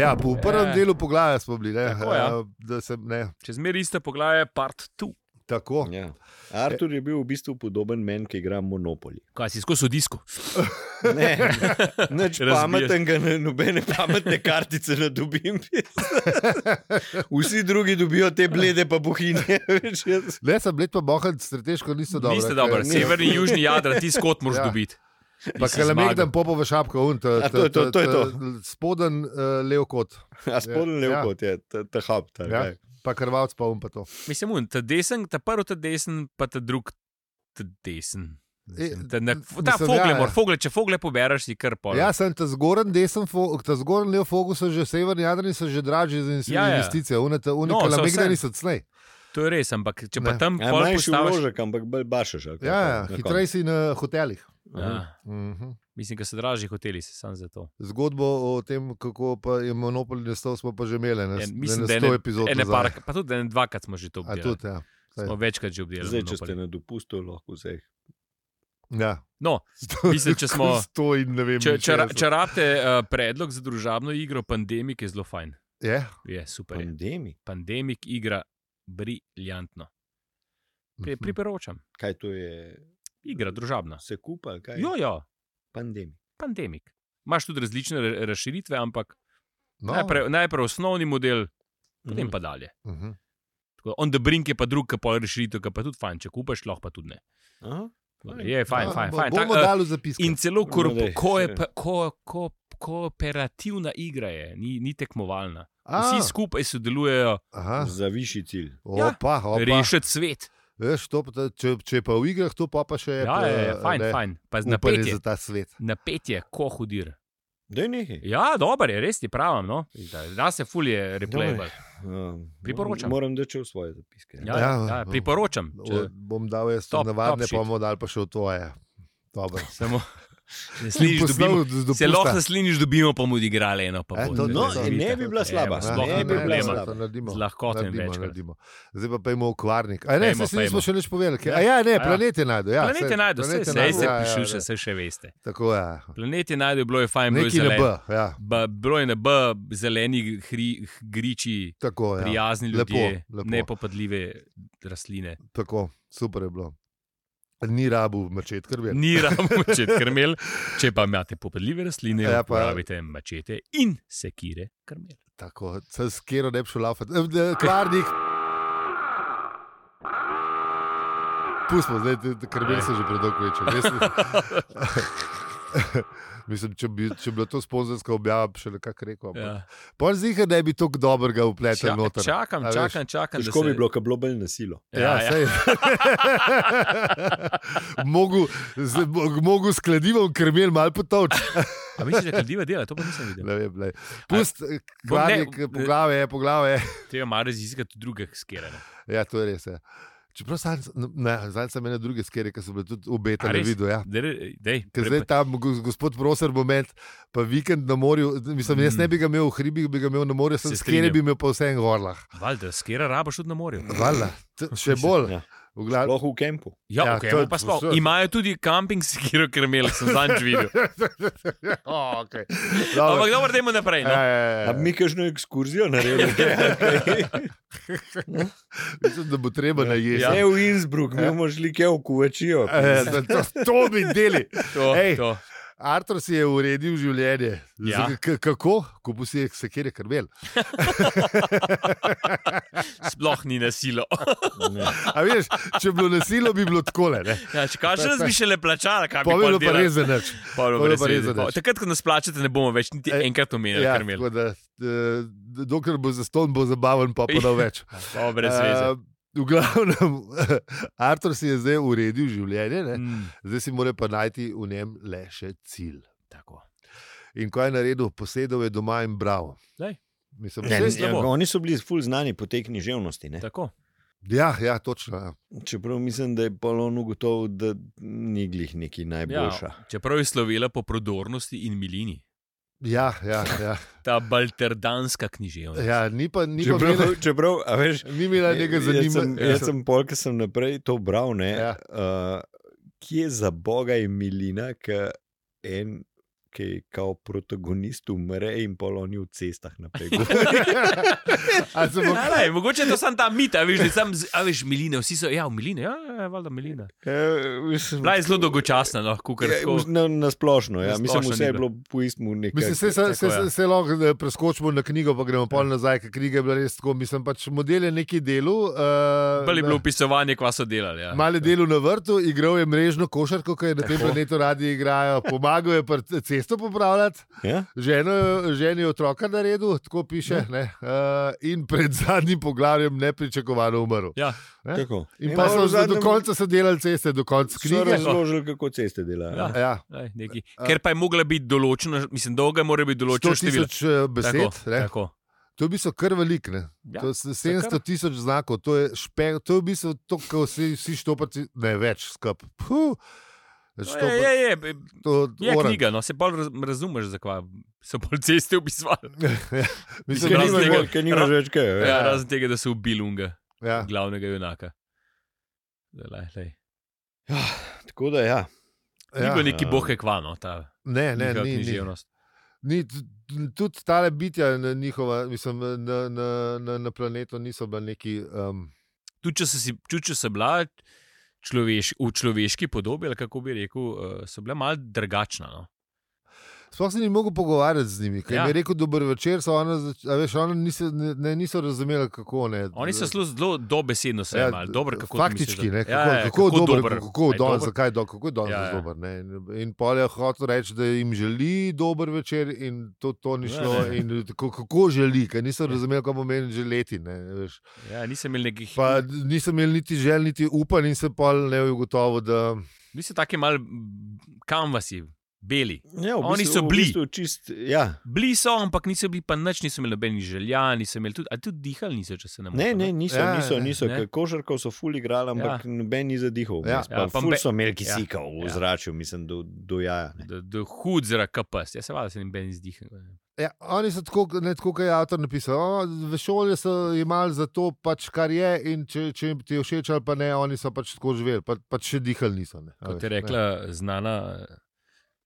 [SPEAKER 2] Ja, po prvem
[SPEAKER 1] Ja.
[SPEAKER 2] delu poglavja smo bili, ne, Eh,
[SPEAKER 1] Tako, ja.
[SPEAKER 2] da sem ne.
[SPEAKER 1] Čez mer iste poglavje, part 2.
[SPEAKER 2] Tako.
[SPEAKER 3] Ja. Artur je bil v bistvu podoben meni, ki igra Monopoly.
[SPEAKER 1] Kaj si skozi disku?
[SPEAKER 3] Ne, nič
[SPEAKER 1] Razbiješ.
[SPEAKER 3] pametnega, ne- nobene pametne kartice ne dobim. Vsi drugi dobijo te blede, pa bohinje. veš, jaz-
[SPEAKER 2] Le sem bled pa bohan, strateško niso dobro.
[SPEAKER 1] Niste dobro, severni in južni jadra, ti skot moraš
[SPEAKER 2] Ja.
[SPEAKER 1] ja. dobiti.
[SPEAKER 2] Pa
[SPEAKER 1] si
[SPEAKER 2] kalamegdan
[SPEAKER 1] zmagal.
[SPEAKER 2] popova šapka, un, ta,
[SPEAKER 3] A, to je to, to je to.
[SPEAKER 2] eh, Spoden uh, lev kot,
[SPEAKER 3] A spodnji lev
[SPEAKER 2] Ja.
[SPEAKER 3] kot je, ta- ta hub. ta
[SPEAKER 2] Ja.
[SPEAKER 3] kaj.
[SPEAKER 2] pa krvavc pa un pa to.
[SPEAKER 1] Mislim, un, ta desen, ta prvi, ta desen, pa ta drug, ta desen.
[SPEAKER 2] E,
[SPEAKER 1] Mislim, Ta, na, ta
[SPEAKER 2] mislim,
[SPEAKER 1] fogle,
[SPEAKER 2] ja,
[SPEAKER 1] ja,
[SPEAKER 2] ja.
[SPEAKER 1] ja. fogle, če fogle pobereš, si kar pol.
[SPEAKER 2] Ja, sem ta zgoren, desen, fo- ta zgoren lev fokus, že severni jadrni so že dražji za in-
[SPEAKER 1] Ja, ja.
[SPEAKER 2] investicije, un, ta un,
[SPEAKER 1] No, so
[SPEAKER 2] kalamegdan
[SPEAKER 1] vse.
[SPEAKER 2] niso cnej.
[SPEAKER 1] To je res, ampak če
[SPEAKER 2] Ne.
[SPEAKER 1] pa tam
[SPEAKER 3] Ja,
[SPEAKER 1] pol
[SPEAKER 3] manjši
[SPEAKER 1] postaviš.
[SPEAKER 3] vložek, ampak bolj bašeš. ali kaj
[SPEAKER 2] Ja, ja,
[SPEAKER 3] pa na
[SPEAKER 2] hitrej si na hotelih.
[SPEAKER 3] koncu. Aha.
[SPEAKER 1] Ja,
[SPEAKER 2] Mhm.
[SPEAKER 1] mislim, da so dražji hoteli, se sam za to.
[SPEAKER 2] Zgodbo o tem, kako pa je Monopol nastal, smo pa že imeli na,
[SPEAKER 1] Ja,
[SPEAKER 2] mislim,
[SPEAKER 1] mislim,
[SPEAKER 2] na
[SPEAKER 1] da
[SPEAKER 2] sto
[SPEAKER 1] ene-
[SPEAKER 2] epizod.
[SPEAKER 1] Ene
[SPEAKER 2] nazaj.
[SPEAKER 1] par, pa tudi ene dvakrat smo že to
[SPEAKER 2] A
[SPEAKER 1] obdelali.
[SPEAKER 2] tudi, ja. saj.
[SPEAKER 1] Smo večkrat že obdelali.
[SPEAKER 2] no,
[SPEAKER 3] Zdaj, če ste
[SPEAKER 1] Monopoly.
[SPEAKER 3] na dopustu, lahko vse.
[SPEAKER 2] ja.
[SPEAKER 1] No,
[SPEAKER 2] Sto-
[SPEAKER 1] mislim, če smo-
[SPEAKER 2] Sto in ne vem.
[SPEAKER 1] če, če, ra-
[SPEAKER 2] 60.
[SPEAKER 1] če rabite uh, predlog za družabno igro, pandemik je zelo fajn.
[SPEAKER 2] Je?
[SPEAKER 1] Je super. je.
[SPEAKER 3] Pandemi,
[SPEAKER 1] Pandemik igra briljantno. Pri,
[SPEAKER 2] Mhm.
[SPEAKER 1] priporočam,
[SPEAKER 3] kaj to je,
[SPEAKER 1] igra družabna.
[SPEAKER 3] se kupa, kaj
[SPEAKER 1] Jo, jo,
[SPEAKER 3] Pandemi.
[SPEAKER 1] pandemik. Imáš tudi različne ra- razširitve, ampak no.
[SPEAKER 2] No.
[SPEAKER 1] najprej, najprej osnovni model, potem
[SPEAKER 3] Mhm.
[SPEAKER 1] pa dalje.
[SPEAKER 2] Mhm.
[SPEAKER 1] Tako, on the brink je pa drug, ki pa je rešitev, ki pa tudi fajn, če kupaš, lahko pa tudi ne.
[SPEAKER 3] Aha.
[SPEAKER 1] Tako da Je fajn,
[SPEAKER 2] Ja,
[SPEAKER 1] fajn.
[SPEAKER 2] bo-
[SPEAKER 1] fajn.
[SPEAKER 2] Bomo
[SPEAKER 1] Tak, eh,
[SPEAKER 2] dali zapis.
[SPEAKER 1] in celo korp,
[SPEAKER 3] daj,
[SPEAKER 1] ko je,
[SPEAKER 3] še.
[SPEAKER 1] pa, ko, ko, kooperativna igra je, ni, ni tekmovalna.
[SPEAKER 2] Ah,
[SPEAKER 1] Vsi skupaj sodelujejo,
[SPEAKER 2] skupaj.
[SPEAKER 3] Za višji cilj.
[SPEAKER 1] Ja.
[SPEAKER 2] Opa, opa.
[SPEAKER 1] rešiti svet.
[SPEAKER 2] Veš, to, pa ta- če, če je pa v igrah, to pa, pa še je.
[SPEAKER 1] Ja,
[SPEAKER 2] pa, eh,
[SPEAKER 1] je, je, fajn,
[SPEAKER 2] ne,
[SPEAKER 1] fajn. Pa
[SPEAKER 2] upanje
[SPEAKER 1] napetje,
[SPEAKER 2] za ta svet.
[SPEAKER 1] napetje, ko hudir.
[SPEAKER 3] Da je nekaj.
[SPEAKER 1] Ja, dober je, res ti pravim. No. Da, da se fulje replayable.
[SPEAKER 3] Um,
[SPEAKER 1] Priporočam.
[SPEAKER 3] Moram reči v svoje zapiske.
[SPEAKER 1] Ja,
[SPEAKER 2] Ja,
[SPEAKER 1] ja, ja,
[SPEAKER 2] no.
[SPEAKER 1] priporočam.
[SPEAKER 2] O,
[SPEAKER 1] Če,
[SPEAKER 2] bom dal jaz to
[SPEAKER 1] Top-
[SPEAKER 2] navadne,
[SPEAKER 1] top
[SPEAKER 2] pa
[SPEAKER 1] shit.
[SPEAKER 2] bomo dal pa še v tvoje. Dobro.
[SPEAKER 1] samo, ne slišiš,
[SPEAKER 2] Poslal
[SPEAKER 1] dobimo,
[SPEAKER 2] z dopusta.
[SPEAKER 1] se lahko nasliniš, dobimo pa mu odigrali eno. Pa
[SPEAKER 2] E,
[SPEAKER 1] bo,
[SPEAKER 2] to-
[SPEAKER 1] ne,
[SPEAKER 2] to-
[SPEAKER 1] ne,
[SPEAKER 2] to-
[SPEAKER 1] ne,
[SPEAKER 3] ne
[SPEAKER 1] ne,
[SPEAKER 3] bi
[SPEAKER 1] ne,
[SPEAKER 3] bila
[SPEAKER 1] ne,
[SPEAKER 3] slaba.
[SPEAKER 1] ne,
[SPEAKER 3] Sploh
[SPEAKER 1] sploh
[SPEAKER 3] ne
[SPEAKER 1] ni
[SPEAKER 3] bi bila
[SPEAKER 1] problema.
[SPEAKER 3] slaba.
[SPEAKER 2] to naredimo.
[SPEAKER 1] Z lahkoto in
[SPEAKER 2] Naredimo,
[SPEAKER 1] večkrat.
[SPEAKER 2] naredimo. Zdaj pa pojmo v kvarnik. A ne,
[SPEAKER 1] Pejmo,
[SPEAKER 2] se nismo
[SPEAKER 1] pejmo.
[SPEAKER 2] še nič povedali. Kaj,
[SPEAKER 1] Ja.
[SPEAKER 2] a ja, ne,
[SPEAKER 1] A ja.
[SPEAKER 2] planet je najdel. Ja,
[SPEAKER 1] Planet je
[SPEAKER 2] saj,
[SPEAKER 1] najdel, vse
[SPEAKER 2] planet je
[SPEAKER 1] sej
[SPEAKER 2] najdel,
[SPEAKER 1] se
[SPEAKER 2] ja, ja,
[SPEAKER 1] piše,
[SPEAKER 2] ja.
[SPEAKER 1] še, še veste.
[SPEAKER 2] Tako je. Ja.
[SPEAKER 1] Planet je najdel, bilo je fajn, bilo je
[SPEAKER 2] Neki na B.
[SPEAKER 1] zeleno.
[SPEAKER 2] Ja.
[SPEAKER 1] Ba- Bilo je na B, zeleni hri, h- griči,
[SPEAKER 2] Tako je. Ja.
[SPEAKER 1] prijazni
[SPEAKER 2] Lepo,
[SPEAKER 1] ljudje,
[SPEAKER 2] lepo.
[SPEAKER 1] nepopadljive rastline.
[SPEAKER 2] Tako, super je bilo. Ni rabu mačet krvi.
[SPEAKER 1] Ni ravno mačet krmel, če pa imate popadljive rastline,
[SPEAKER 2] Ja, pa-
[SPEAKER 1] ja, uporabite mačete in sekire krmel.
[SPEAKER 2] Tako, se s kero ne bi šel lafati. Eh, eh, Kvarnik. Pustimo, zdaj krmili se že predolgo veče. Mislim, mislim če, bi, če bi bila to sponzorska objava, bi še nekako rekel. Ja.
[SPEAKER 1] Ja.
[SPEAKER 2] Pol zihar ne bi tako dobrega
[SPEAKER 1] Ča,
[SPEAKER 2] upletel noter.
[SPEAKER 1] čakam,
[SPEAKER 2] A veš.
[SPEAKER 1] čakam, čakam. da
[SPEAKER 3] Težko
[SPEAKER 1] se-
[SPEAKER 3] bi bilo, ker bilo bolj nasilo.
[SPEAKER 2] Ja, ja, mogu, z, mogu s kladivom krmil malo potovč.
[SPEAKER 1] A misliš, da kladiva dela, to pa nisem videl.
[SPEAKER 2] Ne vem, glej. Pust, eh,
[SPEAKER 1] Ja. bom ne-
[SPEAKER 2] kvarnik, poglave, eh, poglave.
[SPEAKER 1] Treba malo raziskati druge skere. ne.
[SPEAKER 2] Ja, to je res. Ja. Čeprav sam, ne, zdaj sem ena druge skere, ki so bile tudi
[SPEAKER 1] A
[SPEAKER 2] obetane
[SPEAKER 1] res?
[SPEAKER 2] videl. Ja.
[SPEAKER 1] Dej, dej,
[SPEAKER 2] Ker zdaj ta go- gospod Proser moment, pa vikend na morju, mislim, jaz ne bi ga imel v hribih, bi ga imel na morju, sem
[SPEAKER 1] Mm. Se
[SPEAKER 2] skere
[SPEAKER 1] strinjam.
[SPEAKER 2] bi imel pa vse en gorlah.
[SPEAKER 1] Valjda, skera rabaš tudi na morju.
[SPEAKER 2] Hvala, še bolj.
[SPEAKER 3] Ja.
[SPEAKER 2] V glavi.
[SPEAKER 3] Sploh v kampu.
[SPEAKER 1] Ja,
[SPEAKER 2] Ja,
[SPEAKER 1] ja okay,
[SPEAKER 2] to je
[SPEAKER 1] pa sploh.
[SPEAKER 2] povsod.
[SPEAKER 1] Imajo tudi kamping sekiro krmel, sem zadnjič videl.
[SPEAKER 2] Ja, Oh, okay.
[SPEAKER 1] Ampak dobro, dajmo naprej.
[SPEAKER 2] Ja,
[SPEAKER 1] No.
[SPEAKER 3] A bi mi kakšno ekskurzijo naredili?
[SPEAKER 2] ja, Mislim, da bo treba najesti.
[SPEAKER 1] Ja.
[SPEAKER 3] Ja. Ne v Innsbruck, mi bomo šli kje v Kuvačijo.
[SPEAKER 2] Eh, da to, to bi deli.
[SPEAKER 1] To,
[SPEAKER 2] Ej.
[SPEAKER 1] to.
[SPEAKER 2] Artur si je uredil življenje. Z-
[SPEAKER 1] Ja.
[SPEAKER 2] k- Kako? Kupil si je sekere krmel.
[SPEAKER 1] Sploh ni nasilno.
[SPEAKER 2] A veš, če bi bilo nasilno, bi bilo takole. ne.
[SPEAKER 1] Ja, če kažeš, bi še le plačala, kaj bi
[SPEAKER 2] Pa bi bilo pa
[SPEAKER 1] delala.
[SPEAKER 2] res za nič.
[SPEAKER 1] Pa bi bilo
[SPEAKER 2] Pa bi bilo
[SPEAKER 1] brez
[SPEAKER 2] pa res
[SPEAKER 1] veze.
[SPEAKER 2] za nič.
[SPEAKER 1] Pa- Takrat, ko nas plačate, ne bomo več niti
[SPEAKER 2] Ej,
[SPEAKER 1] enkrat omenili,
[SPEAKER 2] Ja,
[SPEAKER 1] kar imeli.
[SPEAKER 2] tako da, eh, dokler bo zaston, bo zabaven, pa pa ne več.
[SPEAKER 1] Pa brez veze.
[SPEAKER 2] Eh, V glavnem, Artur si je zdaj uredil življenje, ne?
[SPEAKER 1] Mm,
[SPEAKER 2] zdaj si mora pa najti v njem le še cilj.
[SPEAKER 1] tako.
[SPEAKER 2] In ko je naredil, posedel je doma in bral.
[SPEAKER 1] Glej.
[SPEAKER 2] Mislim,
[SPEAKER 3] Ne,
[SPEAKER 2] vse-
[SPEAKER 1] je
[SPEAKER 3] ne,
[SPEAKER 1] slabo.
[SPEAKER 3] oni so bili ful znani po tej književnosti.
[SPEAKER 2] e,
[SPEAKER 3] Ne?
[SPEAKER 1] tako.
[SPEAKER 2] Ja, ja, točno. ja.
[SPEAKER 3] Čeprav mislim, da je Polon ugotovil, da ni glih
[SPEAKER 2] e,
[SPEAKER 3] neki
[SPEAKER 1] Ja,
[SPEAKER 3] najboljša. Ja.
[SPEAKER 1] čeprav je slovela po prodornosti in milini.
[SPEAKER 2] Ja, ja, ja.
[SPEAKER 1] Ta balterdanska književnost.
[SPEAKER 2] ja ni pa, ni pa imela,
[SPEAKER 3] Čeprav, čeprav, a veš,
[SPEAKER 2] ni imela nekaj
[SPEAKER 3] Jaz sem,
[SPEAKER 2] zanimivega.
[SPEAKER 3] jaz sem pol, ki sem naprej to bral. Ne,
[SPEAKER 2] Ja.
[SPEAKER 3] ja. uh, kje za boga je Milina, ki en ki kao protagonist umre in pol oni v cestah naprej.
[SPEAKER 2] Ali se bo
[SPEAKER 1] A Ne, mogoče je to samo ta mit, a veš, da je sam, z- a veš, miline, vsi so, ja, miline, ja, ja, ja, valjda miline.
[SPEAKER 2] Ja,
[SPEAKER 1] Bila je zelo dolgočasna, no, kukar tako.
[SPEAKER 3] Ja, Na, na splošno, ja.
[SPEAKER 1] Na
[SPEAKER 3] mislim,
[SPEAKER 1] splošno
[SPEAKER 3] vse
[SPEAKER 1] ni
[SPEAKER 3] je
[SPEAKER 1] bilo.
[SPEAKER 3] bilo po istmu nekaj.
[SPEAKER 2] Mislim, se, se, se,
[SPEAKER 1] tako, ja.
[SPEAKER 2] se, se lahko eh, preskočimo na knjigo, pa gremo pol nazaj, ker knjiga je bila res tako. Mislim, pač model je neki delu. Uh,
[SPEAKER 1] Bolje je bilo opisovanje, kva so delali. Ja.
[SPEAKER 2] Male delo na vrtu, igral je mrežno košarko, ki jo na tem
[SPEAKER 3] Tako.
[SPEAKER 2] planetu radi igrajo, pomagal je pri c- cesto popravljati,
[SPEAKER 3] Ja?
[SPEAKER 2] ženo, ženi otroka na redu,
[SPEAKER 1] Ja.
[SPEAKER 2] tako piše. Ne, uh, in pred zadnjim poglavjem nepričakovano umrl.
[SPEAKER 1] Ja.
[SPEAKER 2] Ne?
[SPEAKER 3] Tako.
[SPEAKER 2] In pa so zadnjem... do konca so delali ceste, do konca
[SPEAKER 3] knjige
[SPEAKER 2] knjige.
[SPEAKER 3] razložili, kako ceste delajo.
[SPEAKER 1] Ja.
[SPEAKER 3] Ja.
[SPEAKER 2] Ja,
[SPEAKER 1] Aj, nekaj. Ker pa je mogla biti določena, mislim, dolga mora biti
[SPEAKER 2] 100
[SPEAKER 1] določena števila.
[SPEAKER 2] tisoč eh, besed,
[SPEAKER 1] tako,
[SPEAKER 2] ne.
[SPEAKER 1] tako.
[SPEAKER 2] to je v bistvu kar velik. Ne.
[SPEAKER 1] Ja,
[SPEAKER 2] To je 700 tisoč znakov, to je, špe, to je v bistvu to, kar vsi, vsi štoparci, ne več skup. Puh,
[SPEAKER 1] To je, je, ja, je, je,
[SPEAKER 2] to
[SPEAKER 1] je
[SPEAKER 2] oran.
[SPEAKER 1] knjiga, no se bolj raz- razumeš, zakaj so bolj ceste opisovali.
[SPEAKER 2] Ja, Mislim,
[SPEAKER 1] Ker
[SPEAKER 2] da
[SPEAKER 3] Ker
[SPEAKER 1] Razen
[SPEAKER 3] nimaš
[SPEAKER 1] tega-
[SPEAKER 3] več- Ker nimaš več kaj.
[SPEAKER 1] Ja,
[SPEAKER 3] ja.
[SPEAKER 1] ja. Razen tega, da so ubili unga, ja.
[SPEAKER 2] ja.
[SPEAKER 1] glavnega junaka. Lej, lej.
[SPEAKER 3] Ja, tako da ja.
[SPEAKER 1] Ni
[SPEAKER 2] Ja.
[SPEAKER 1] bilo neki bohe kvano, ta
[SPEAKER 2] Ne, ne,
[SPEAKER 1] njihova
[SPEAKER 2] ni, ni.
[SPEAKER 1] književnost.
[SPEAKER 2] ni t- t- tudi ta bitja, na njihova, mislim, na, na, na, na planetu niso bila neki. Um,
[SPEAKER 1] Tudi če so, si, tudi, če so bila človeš, v človeški podobi, ali kako bi rekel, eh, so bila malce drugačna. No.
[SPEAKER 2] Sploh se ni mogel pogovarjati z njimi. Ker
[SPEAKER 1] Ja.
[SPEAKER 2] ja. je rekel, dober večer, so ona, zač- a veš, ona niso, ne, ne, niso razumeli, kako ne.
[SPEAKER 1] Oni so zelo, zelo dobesedno se ja, dobro, kako to
[SPEAKER 2] faktički,
[SPEAKER 1] misliš, da-
[SPEAKER 2] ne, kako, ja, ja, kako, kako dober, dober, kako
[SPEAKER 1] a je
[SPEAKER 2] don,
[SPEAKER 1] dober?
[SPEAKER 2] zakaj do, kako je don
[SPEAKER 1] Ja,
[SPEAKER 2] ja,
[SPEAKER 1] ja.
[SPEAKER 2] dober. Ne. In- In pol je hotel reči, da jim želi dober večer in to, to ni
[SPEAKER 1] Ne,
[SPEAKER 2] šlo.
[SPEAKER 1] ne.
[SPEAKER 2] In tako, kako želi, ker niso razumeli, kaj pomeni želeti. Ne, veš.
[SPEAKER 1] Ja, nisem imel nekih.
[SPEAKER 2] pa nisem imel niti želj, niti upanja in sem pol ne ugotovil, da
[SPEAKER 1] Bili so taki mali kanvasi, beli.
[SPEAKER 3] Ja, v
[SPEAKER 1] Oni
[SPEAKER 3] bistvu-
[SPEAKER 1] so bili.
[SPEAKER 3] V bistvu čist, ja.
[SPEAKER 1] Bili so, ampak niso bili pa nič, niso imeli nobenih želja, niso imeli tudi, ali tudi dihali niso, če se ne motim.
[SPEAKER 3] Ne, ne, niso,
[SPEAKER 2] Ja,
[SPEAKER 3] ja, niso,
[SPEAKER 2] ne,
[SPEAKER 3] niso.
[SPEAKER 1] ne.
[SPEAKER 3] Ne. Košarkov so ful igrali, ampak ja. noben ni zadihal.
[SPEAKER 2] Ja.
[SPEAKER 3] Ja.
[SPEAKER 1] Ja,
[SPEAKER 3] Pa,
[SPEAKER 1] pa
[SPEAKER 3] pa ful
[SPEAKER 1] mbe-
[SPEAKER 3] so imeli
[SPEAKER 1] ja.
[SPEAKER 3] kisika ja.
[SPEAKER 1] Ja.
[SPEAKER 3] v zraku, mislim, do, do jaja. ne.
[SPEAKER 1] Da, da hud zrak, kapes, jaz se valjda se jim ben izdihnem.
[SPEAKER 2] Ja, oni so tako, ne, tako kot je avtor napisal. O, v šoli so imeli za to, pač, kar je, in če, če jim ti je všeč ali pa ne, oni so pač tako živeli, pa, pač še dihali niso. Ne, a
[SPEAKER 1] Kot je
[SPEAKER 2] veš, ne.
[SPEAKER 1] rekla ne. znana eh,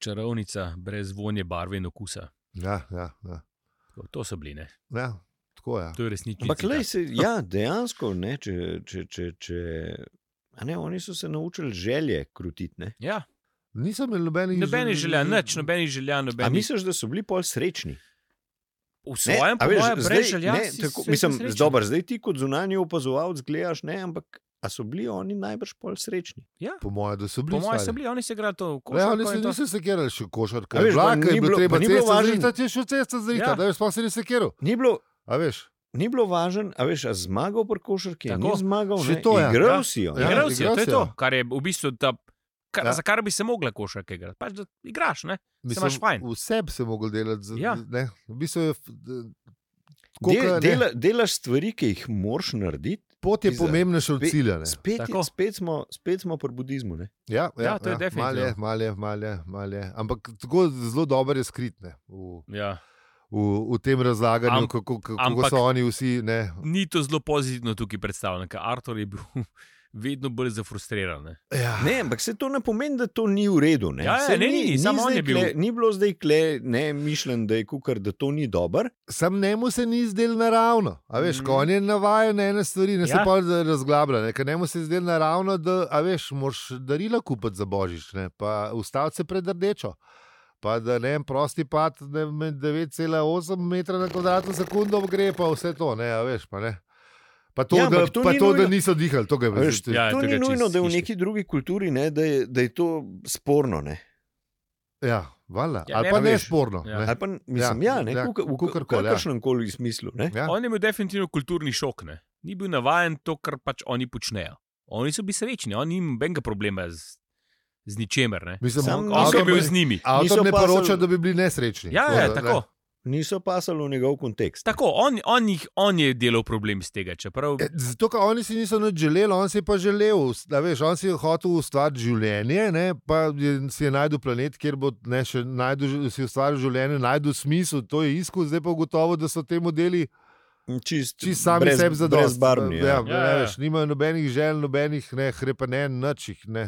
[SPEAKER 1] čarovnica, brez vonje, barve in okusa.
[SPEAKER 2] Ja, ja, ja.
[SPEAKER 1] Tako, To so bili, ne.
[SPEAKER 2] ja, tako je.
[SPEAKER 1] To je resnično.
[SPEAKER 3] Ampak lej, se, ja, dejansko, ne, če, če, če, če, a ne, oni so se naučili želje krutiti.
[SPEAKER 1] Ja,
[SPEAKER 2] Nisem imel nobenih
[SPEAKER 1] nobenih
[SPEAKER 2] žel-
[SPEAKER 1] želja, nič, nobenih želja,
[SPEAKER 3] A
[SPEAKER 1] nobenih.
[SPEAKER 3] misliš, da so bili pol srečni?
[SPEAKER 1] V svojem
[SPEAKER 3] a veš,
[SPEAKER 1] pogledu, brez želja.
[SPEAKER 3] ne,
[SPEAKER 1] si
[SPEAKER 3] tako,
[SPEAKER 1] srečen,
[SPEAKER 3] mislim,
[SPEAKER 1] srečen.
[SPEAKER 3] dober, zdaj ti kot zunanji opazovalec gledaš, ne, ampak a so bili oni najbrž pol srečni?
[SPEAKER 2] Po mojem, da so bili.
[SPEAKER 1] Po mojem so
[SPEAKER 2] stari.
[SPEAKER 1] bili, oni so igrali to v
[SPEAKER 2] Ja,
[SPEAKER 1] košarko.
[SPEAKER 2] oni se
[SPEAKER 1] in to-
[SPEAKER 2] niso sekirali še košarka.
[SPEAKER 3] A veš, pa
[SPEAKER 2] Vlak,
[SPEAKER 3] ni
[SPEAKER 2] je bilo
[SPEAKER 3] bilo-
[SPEAKER 2] treba
[SPEAKER 3] pa ni bilo
[SPEAKER 2] cesto
[SPEAKER 3] važno.
[SPEAKER 2] zrihtati, je šel cesto
[SPEAKER 1] Ja.
[SPEAKER 2] zrihtati, da veš, pa se ni sekiral.
[SPEAKER 3] Ni bilo,
[SPEAKER 2] A veš?
[SPEAKER 3] ni bilo važno, a veš, a zmagal pri košarki, a
[SPEAKER 1] Tako.
[SPEAKER 3] ni zmagal,
[SPEAKER 2] Še
[SPEAKER 3] ne,
[SPEAKER 2] to, ja.
[SPEAKER 1] Ja.
[SPEAKER 3] igral si jo.
[SPEAKER 2] Ja,
[SPEAKER 3] ne.
[SPEAKER 1] Igral si, jo, to je
[SPEAKER 2] igral si
[SPEAKER 1] to,
[SPEAKER 2] jo.
[SPEAKER 1] kar je v bistvu ta. Kar,
[SPEAKER 2] Ja.
[SPEAKER 1] ja. Za kar bi se mogla košarka igrati, pač da igraš. Ne? imaš fajn.
[SPEAKER 2] Vse bi se mogel delati. Z,
[SPEAKER 1] Ja.
[SPEAKER 2] ja. ne, v bistvu je, f- d- tako,
[SPEAKER 3] Del,
[SPEAKER 2] ka- ne,
[SPEAKER 3] dela, delaš stvari, ki jih moraš narediti.
[SPEAKER 2] pot je
[SPEAKER 3] Iza-
[SPEAKER 2] pomembnejša od
[SPEAKER 3] Spe-
[SPEAKER 2] cilja. ne.
[SPEAKER 3] Spet,
[SPEAKER 1] Tako.
[SPEAKER 3] je, spet, smo, spet smo pri budizmu. Ne?
[SPEAKER 2] Ja,
[SPEAKER 1] Ja, to je definitivno.
[SPEAKER 2] Malje, malje, malje, malje. Ampak tako zelo dobro je skritne v,
[SPEAKER 1] Ja.
[SPEAKER 2] v, v tem razlaganju,
[SPEAKER 1] Am-
[SPEAKER 2] Am, kako, kako
[SPEAKER 1] ampak-
[SPEAKER 2] ampak, so oni vsi. Ne,
[SPEAKER 1] Ni to zelo pozitivno tukaj predstavljeno, ker Artur je bil vedno bolj zafrustriran. ne.
[SPEAKER 2] ja,
[SPEAKER 3] Ne, ampak se to ne pomeni, da to ni v redu. Ne,
[SPEAKER 1] Ja, ja,
[SPEAKER 3] Saj
[SPEAKER 1] ne, ni, samo on
[SPEAKER 3] zdaj
[SPEAKER 1] je bil.
[SPEAKER 3] Kle, ni bilo zdaj kle, ne, mišljen, da je kukar, da to ni dobro.
[SPEAKER 2] Sam njemu se ni zdel naravno. A veš,
[SPEAKER 1] Mm.
[SPEAKER 2] mm. ko on je navajen na ene stvari, ne ja. se
[SPEAKER 1] Ja.
[SPEAKER 2] pa razglablja. ne, Ker njemu se je zdel naravno, da a veš, moraš darila kupiti za božič, ne, pa ustaviti se pred rdečo. Pa da ne en prosti pad ne, med 9,8 metra na kvadratno sekundo gre, pa vse to, ne, a veš, pa ne. Pa to,
[SPEAKER 3] Ja,
[SPEAKER 2] ja, da,
[SPEAKER 3] ampak to
[SPEAKER 2] pa
[SPEAKER 3] ni
[SPEAKER 2] to, da
[SPEAKER 3] nujno.
[SPEAKER 2] niso dihali, to ga je
[SPEAKER 3] A Veš,
[SPEAKER 2] več.
[SPEAKER 1] ja,
[SPEAKER 3] ja, to
[SPEAKER 1] tega
[SPEAKER 3] ni
[SPEAKER 1] čist
[SPEAKER 3] nujno, da je v
[SPEAKER 1] hišnik.
[SPEAKER 3] neki drugi kulturi, ne, da, je, da je to sporno. Ne.
[SPEAKER 2] Ja, vala.
[SPEAKER 1] Ja,
[SPEAKER 2] Ja, Ali
[SPEAKER 1] ne,
[SPEAKER 2] pa
[SPEAKER 1] a
[SPEAKER 2] ne
[SPEAKER 3] veš.
[SPEAKER 2] sporno.
[SPEAKER 1] Ja.
[SPEAKER 2] ne.
[SPEAKER 3] Ali Pa, mislim, ja,
[SPEAKER 2] Ja,
[SPEAKER 3] ja, ne,
[SPEAKER 2] ja,
[SPEAKER 3] kuka, v
[SPEAKER 2] kakorkoli, ja.
[SPEAKER 3] kakršnem koli smislu. Ne.
[SPEAKER 2] Ja.
[SPEAKER 1] On je imel definitivno kulturni šok. Ne? Ni bil navaden to, kar pač oni počnejo. Oni so bili srečni, oni nimajo nobenega problema z, z ničemer. Ne?
[SPEAKER 2] Mislim,
[SPEAKER 3] Sam-
[SPEAKER 1] On
[SPEAKER 3] Avtor
[SPEAKER 1] je
[SPEAKER 2] avtor,
[SPEAKER 1] bil
[SPEAKER 3] pa-
[SPEAKER 1] z njimi.
[SPEAKER 2] avtor
[SPEAKER 3] Niso
[SPEAKER 2] ne
[SPEAKER 3] pa se-
[SPEAKER 2] poroča, da bi bili nesrečni.
[SPEAKER 1] Ja,
[SPEAKER 2] Tako da,
[SPEAKER 1] ja,
[SPEAKER 2] ne.
[SPEAKER 1] tako.
[SPEAKER 3] Niso pasali v njegov kontekst.
[SPEAKER 1] Tako, on, on, jih, on je delal problem iz tega, čeprav
[SPEAKER 2] E, Zato, ker oni si niso nič želeli, on si je pa želel, ust- a veš, on si je hotel ustvariti življenje, ne, pa je, si je najdel planet, kjer bo ne, še najdu, ž- si ustvaril življenje, najdel smisel, to je iskal, zdaj pa ugotovo, da so te modeli
[SPEAKER 3] Čist,
[SPEAKER 2] čisto sami
[SPEAKER 3] brez,
[SPEAKER 2] sebi zadovoljni.
[SPEAKER 3] Brezbarvni.
[SPEAKER 2] Ja,
[SPEAKER 3] Ja.
[SPEAKER 2] ja,
[SPEAKER 1] Ja, ja.
[SPEAKER 2] ja. Veš, nimajo nobenih želj, nobenih ne, hrepenenj, nič jih ne.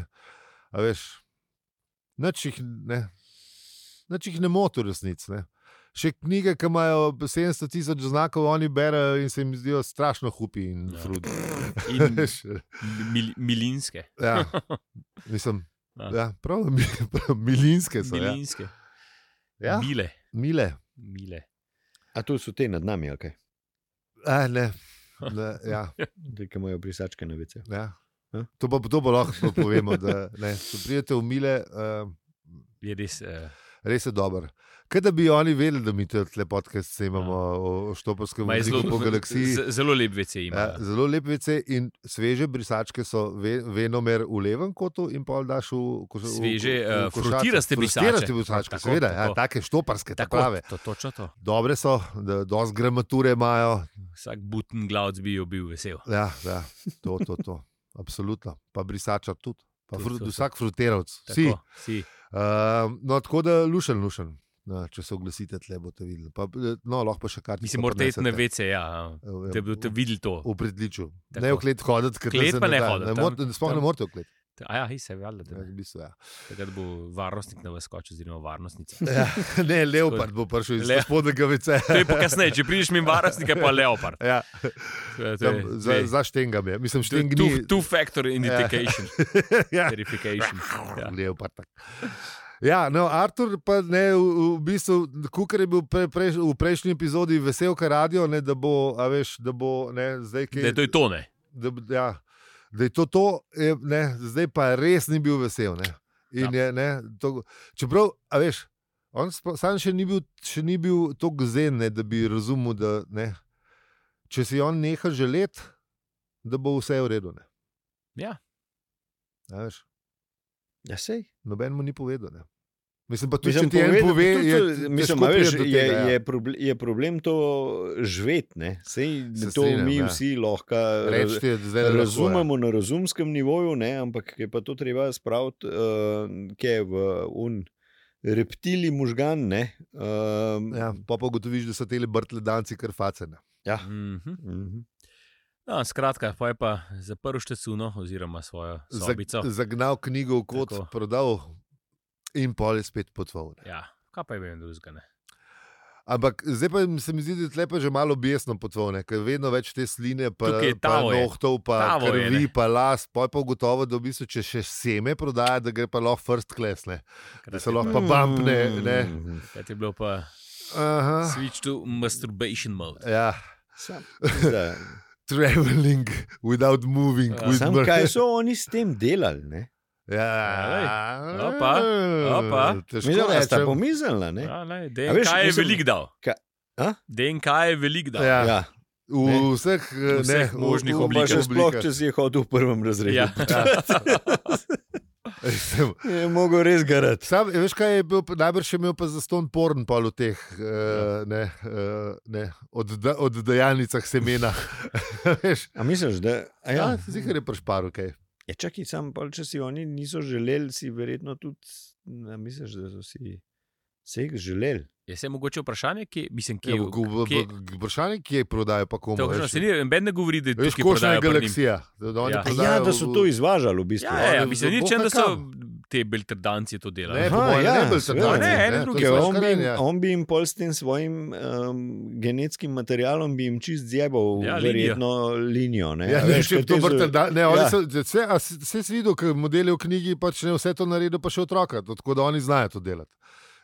[SPEAKER 2] A veš, nič jih ne. Znači jih ne moti v resnici. ne. Še knjige, ki imajo 700 tisoč znakov, oni berejo in se jim zdijo strašno hupi in
[SPEAKER 1] Ja.
[SPEAKER 2] frudi.
[SPEAKER 1] In mil, milinske.
[SPEAKER 2] ja, mislim,
[SPEAKER 1] Ja.
[SPEAKER 2] ja, prav, mi, prav, milinske so. Ja.
[SPEAKER 1] Milinske.
[SPEAKER 2] Ja,
[SPEAKER 1] Mile.
[SPEAKER 2] mile.
[SPEAKER 1] Mile.
[SPEAKER 3] A tu so te nad nami, ok.
[SPEAKER 2] A, ne. Ne, ja,
[SPEAKER 3] Te, ki imajo brisačke novice.
[SPEAKER 2] ja.
[SPEAKER 3] Ja.
[SPEAKER 2] To pa to bo lahko povemo, da ne. Če pridete v mile, uh,
[SPEAKER 1] Je res. Uh,
[SPEAKER 2] res je dober. Kaj da bi oni vedeli, da mi te lepotke snemamo
[SPEAKER 1] Ja.
[SPEAKER 2] o- o štoparskem jeziku po galaksiji.
[SPEAKER 1] zelo lep vece ima.
[SPEAKER 2] Ja,
[SPEAKER 1] Ja,
[SPEAKER 2] zelo lepe vece in sveže brisačke so ve, venomer v levem kotu in pol daš v koš- v-
[SPEAKER 1] Sveže,
[SPEAKER 2] v-
[SPEAKER 1] eh,
[SPEAKER 2] v košarico.
[SPEAKER 1] frutiraste brisače.
[SPEAKER 2] Frutiraste brisačke,
[SPEAKER 1] Tako,
[SPEAKER 2] seveda, ja,
[SPEAKER 1] tako.
[SPEAKER 2] take štoparske, tako
[SPEAKER 1] Tako,
[SPEAKER 2] prave.
[SPEAKER 1] to, točno to.
[SPEAKER 2] Dobre so, da dosti gramature imajo,
[SPEAKER 1] Vsak buten glavc bi jo bil vesel.
[SPEAKER 2] Ja, ja to, to, to. Absolutno. Pa brisača tudi. Pa
[SPEAKER 1] Tudi
[SPEAKER 2] fru,
[SPEAKER 1] to, to.
[SPEAKER 2] vsak fruterovc. Vsi.
[SPEAKER 1] Tako, si.
[SPEAKER 2] Uh, no, tako da lušen, lušen. Ja, če se oglasite, tle boste videli. Pa, eh, no, lahko pa še kartice.
[SPEAKER 1] Mislim, morate iti na vece, ja.
[SPEAKER 2] v,
[SPEAKER 1] da boste videli to.
[SPEAKER 2] v predliču.
[SPEAKER 1] Tako.
[SPEAKER 2] Ne v klet hoditi, ker
[SPEAKER 1] Klet pa
[SPEAKER 2] se
[SPEAKER 1] ne
[SPEAKER 2] da.
[SPEAKER 1] hoditi,
[SPEAKER 2] Ne,
[SPEAKER 1] tam-
[SPEAKER 2] mor- Sploh ne
[SPEAKER 1] tam-
[SPEAKER 2] morete v klet.
[SPEAKER 1] A ja, hej, se valjda. da
[SPEAKER 2] Ja,
[SPEAKER 1] ne.
[SPEAKER 2] v bistvu, ja.
[SPEAKER 1] Takrat bo varnostnik na vas skočil, oziroma varnostnica.
[SPEAKER 2] Ja, ne, leopard bo prišel iz
[SPEAKER 1] Le-
[SPEAKER 2] spodnjega vice.
[SPEAKER 1] To je pa kasneje, če prideš mi varnostnik, je pa leopard.
[SPEAKER 2] Ja,
[SPEAKER 1] To je- to je-
[SPEAKER 2] tam, za, za štengam je.
[SPEAKER 1] to
[SPEAKER 2] Mislim,
[SPEAKER 1] je
[SPEAKER 2] štengni.
[SPEAKER 1] two- Two-factor identification.
[SPEAKER 2] ja.
[SPEAKER 1] verification. Ja.
[SPEAKER 2] Leopard. tak. Ja, no, Artur pa ne, v, v bistvu, kukar je bil pre, pre, v prejšnji epizodi vesel, kar radio, ne, da bo, a veš, da bo, ne, zdaj kaj.
[SPEAKER 1] Da je to je to, ne.
[SPEAKER 2] da, b- ja, da je to to, je, ne, zdaj pa res ni bil vesel. Ne, in
[SPEAKER 1] Ja.
[SPEAKER 2] je, ne, to, čeprav, a veš, on sploh- sam še ni bil, še ni bil tako zen, ne, da bi razumel, da ne, če si on neha želeti, da bo vse v redu. Ne,
[SPEAKER 1] Ja.
[SPEAKER 2] a veš.
[SPEAKER 3] Ja, sej.
[SPEAKER 2] Noben mu ni povedal. Ne. Mislim, pa tudi
[SPEAKER 3] Mislim,
[SPEAKER 2] mislim, če ti en
[SPEAKER 3] povedati-
[SPEAKER 2] pove,
[SPEAKER 3] tudi
[SPEAKER 2] je,
[SPEAKER 3] to-
[SPEAKER 2] te-
[SPEAKER 3] mislim,
[SPEAKER 2] težko
[SPEAKER 3] a veš,
[SPEAKER 2] priti do
[SPEAKER 3] je,
[SPEAKER 2] tega, ja.
[SPEAKER 3] je, problem, je problem to živeti. Sej,
[SPEAKER 2] Se
[SPEAKER 3] to
[SPEAKER 2] strinjam,
[SPEAKER 3] mi
[SPEAKER 2] ja.
[SPEAKER 3] vsi lahko
[SPEAKER 2] Reči ti je zdaj
[SPEAKER 3] raz-
[SPEAKER 2] lahko, ja.
[SPEAKER 3] eh, razumemo na razumskem nivoju, ne, ampak je pa to treba spraviti, uh, ki je v un. Reptili možgan, ne. Um,
[SPEAKER 2] Ja, pa pa ugotoviš, da so te brtle danci kar facene.
[SPEAKER 3] ja.
[SPEAKER 1] Mhm.
[SPEAKER 3] mhm.
[SPEAKER 1] No, skratka, pa je pa zaprl štecuno, oziroma svojo sobico.
[SPEAKER 2] zagnal knjigo v kot,
[SPEAKER 1] Tako.
[SPEAKER 2] Tako. prodal in pol je spet potoval. ne.
[SPEAKER 1] Ja, kaj pa je vem drugega, ne.
[SPEAKER 2] Ampak zdaj pa se mi zdi, da je tule pa že malo besno potoval, ker vedno več te sline, pa,
[SPEAKER 1] Tukaj je
[SPEAKER 2] pa
[SPEAKER 1] tavo je.
[SPEAKER 2] nohtov, pa
[SPEAKER 1] Tavo je,
[SPEAKER 2] krvi,
[SPEAKER 1] ne.
[SPEAKER 2] pa las, pa je pa ugotovo, da v bistvu, če še seme prodaja, da gre pa lahko first class, ne. da se lahko pa bumpne. Ne.
[SPEAKER 3] Mhm.
[SPEAKER 1] Kaj je bilo pa
[SPEAKER 2] Aha.
[SPEAKER 1] switch to masturbation mode.
[SPEAKER 2] Ja.
[SPEAKER 3] Sam, zdaj,
[SPEAKER 2] traveling without moving.
[SPEAKER 1] Ja,
[SPEAKER 2] with
[SPEAKER 3] sam,
[SPEAKER 2] mer-
[SPEAKER 3] kaj so oni s tem delali? Ne?
[SPEAKER 2] Ja,
[SPEAKER 1] Ej, opa, opa.
[SPEAKER 2] Težko
[SPEAKER 3] Mislim, da sta
[SPEAKER 2] rečem.
[SPEAKER 3] pomislila. ne?
[SPEAKER 1] Ja, ne,
[SPEAKER 3] A
[SPEAKER 1] DNK
[SPEAKER 3] veš,
[SPEAKER 1] veš, je
[SPEAKER 3] mislim-
[SPEAKER 1] velik dal.
[SPEAKER 3] Ka- A?
[SPEAKER 1] DNK je velik dal.
[SPEAKER 2] Ja,
[SPEAKER 3] Ja. Ne.
[SPEAKER 2] V vseh, eh,
[SPEAKER 1] vseh
[SPEAKER 2] ne, v-
[SPEAKER 1] možnih
[SPEAKER 2] v-
[SPEAKER 3] To
[SPEAKER 2] v-
[SPEAKER 3] pa
[SPEAKER 1] oblikah.
[SPEAKER 3] še sploh,
[SPEAKER 2] oblikah.
[SPEAKER 3] če si je hodil v prvem razredu.
[SPEAKER 1] Ja.
[SPEAKER 2] Mislim,
[SPEAKER 3] Je mogel res garati.
[SPEAKER 2] Sam, veš, kaj je bil, pa- najbrž je imel pa za ston porn pol v teh uh, ne, uh, ne, odda, oddajalnicah semena. Veš,
[SPEAKER 3] A misliš, da a ja.
[SPEAKER 2] ja, zihar je prešparil kaj.
[SPEAKER 3] je čakaj, sam pa, če si oni niso želeli, si verjetno tudi, a misliš, da so si vseh želeli.
[SPEAKER 1] Je se mogoče vprašanje, kje, mislim, kje,
[SPEAKER 2] Ja, bo- bo-
[SPEAKER 1] kje,
[SPEAKER 2] bo- Vprašanje, ki je prodajo, pa komu.
[SPEAKER 1] to,
[SPEAKER 2] veš.
[SPEAKER 1] veš, se ni, ben ne govori, da je
[SPEAKER 2] Veš,
[SPEAKER 1] tukaj
[SPEAKER 2] košna je
[SPEAKER 1] prodajo pri njim.
[SPEAKER 2] galaksija. Da, da, oni
[SPEAKER 1] Ja. A ja,
[SPEAKER 3] A ja,
[SPEAKER 2] prodajo
[SPEAKER 3] da so
[SPEAKER 2] v-
[SPEAKER 3] to izvažali v bistvu.
[SPEAKER 1] Ja, ja, ja,
[SPEAKER 2] Oni
[SPEAKER 1] mislim,
[SPEAKER 2] za
[SPEAKER 1] ni rečeno, da so
[SPEAKER 2] Boha
[SPEAKER 1] te beltrdanci to delali.
[SPEAKER 2] Ne,
[SPEAKER 3] Aha,
[SPEAKER 2] po mojem,
[SPEAKER 3] ja,
[SPEAKER 2] ne, bil sem
[SPEAKER 3] seveda.
[SPEAKER 2] tam.
[SPEAKER 1] Ne,
[SPEAKER 2] Ne,
[SPEAKER 1] ene
[SPEAKER 2] to
[SPEAKER 1] druge.
[SPEAKER 2] je
[SPEAKER 3] Ker
[SPEAKER 2] pač
[SPEAKER 3] on,
[SPEAKER 2] kar
[SPEAKER 3] bi jim,
[SPEAKER 2] en, ja.
[SPEAKER 3] on bi jim pol s tem svojim um, genetskim materialom bi jim čist zjebal
[SPEAKER 1] Ja,
[SPEAKER 3] ja,
[SPEAKER 1] linijo.
[SPEAKER 3] verjetno linijo. ne.
[SPEAKER 2] Ja,
[SPEAKER 3] A
[SPEAKER 2] ne,
[SPEAKER 3] veš,
[SPEAKER 2] če
[SPEAKER 3] ker
[SPEAKER 2] to
[SPEAKER 3] te so-
[SPEAKER 2] vrtel, da, ne, oni
[SPEAKER 3] Ja.
[SPEAKER 2] so, vse, a si- saj si videl, ker modeli v knjigi pač ne vse to naredijo, pa še otroka, to- tako da oni znajo to delati.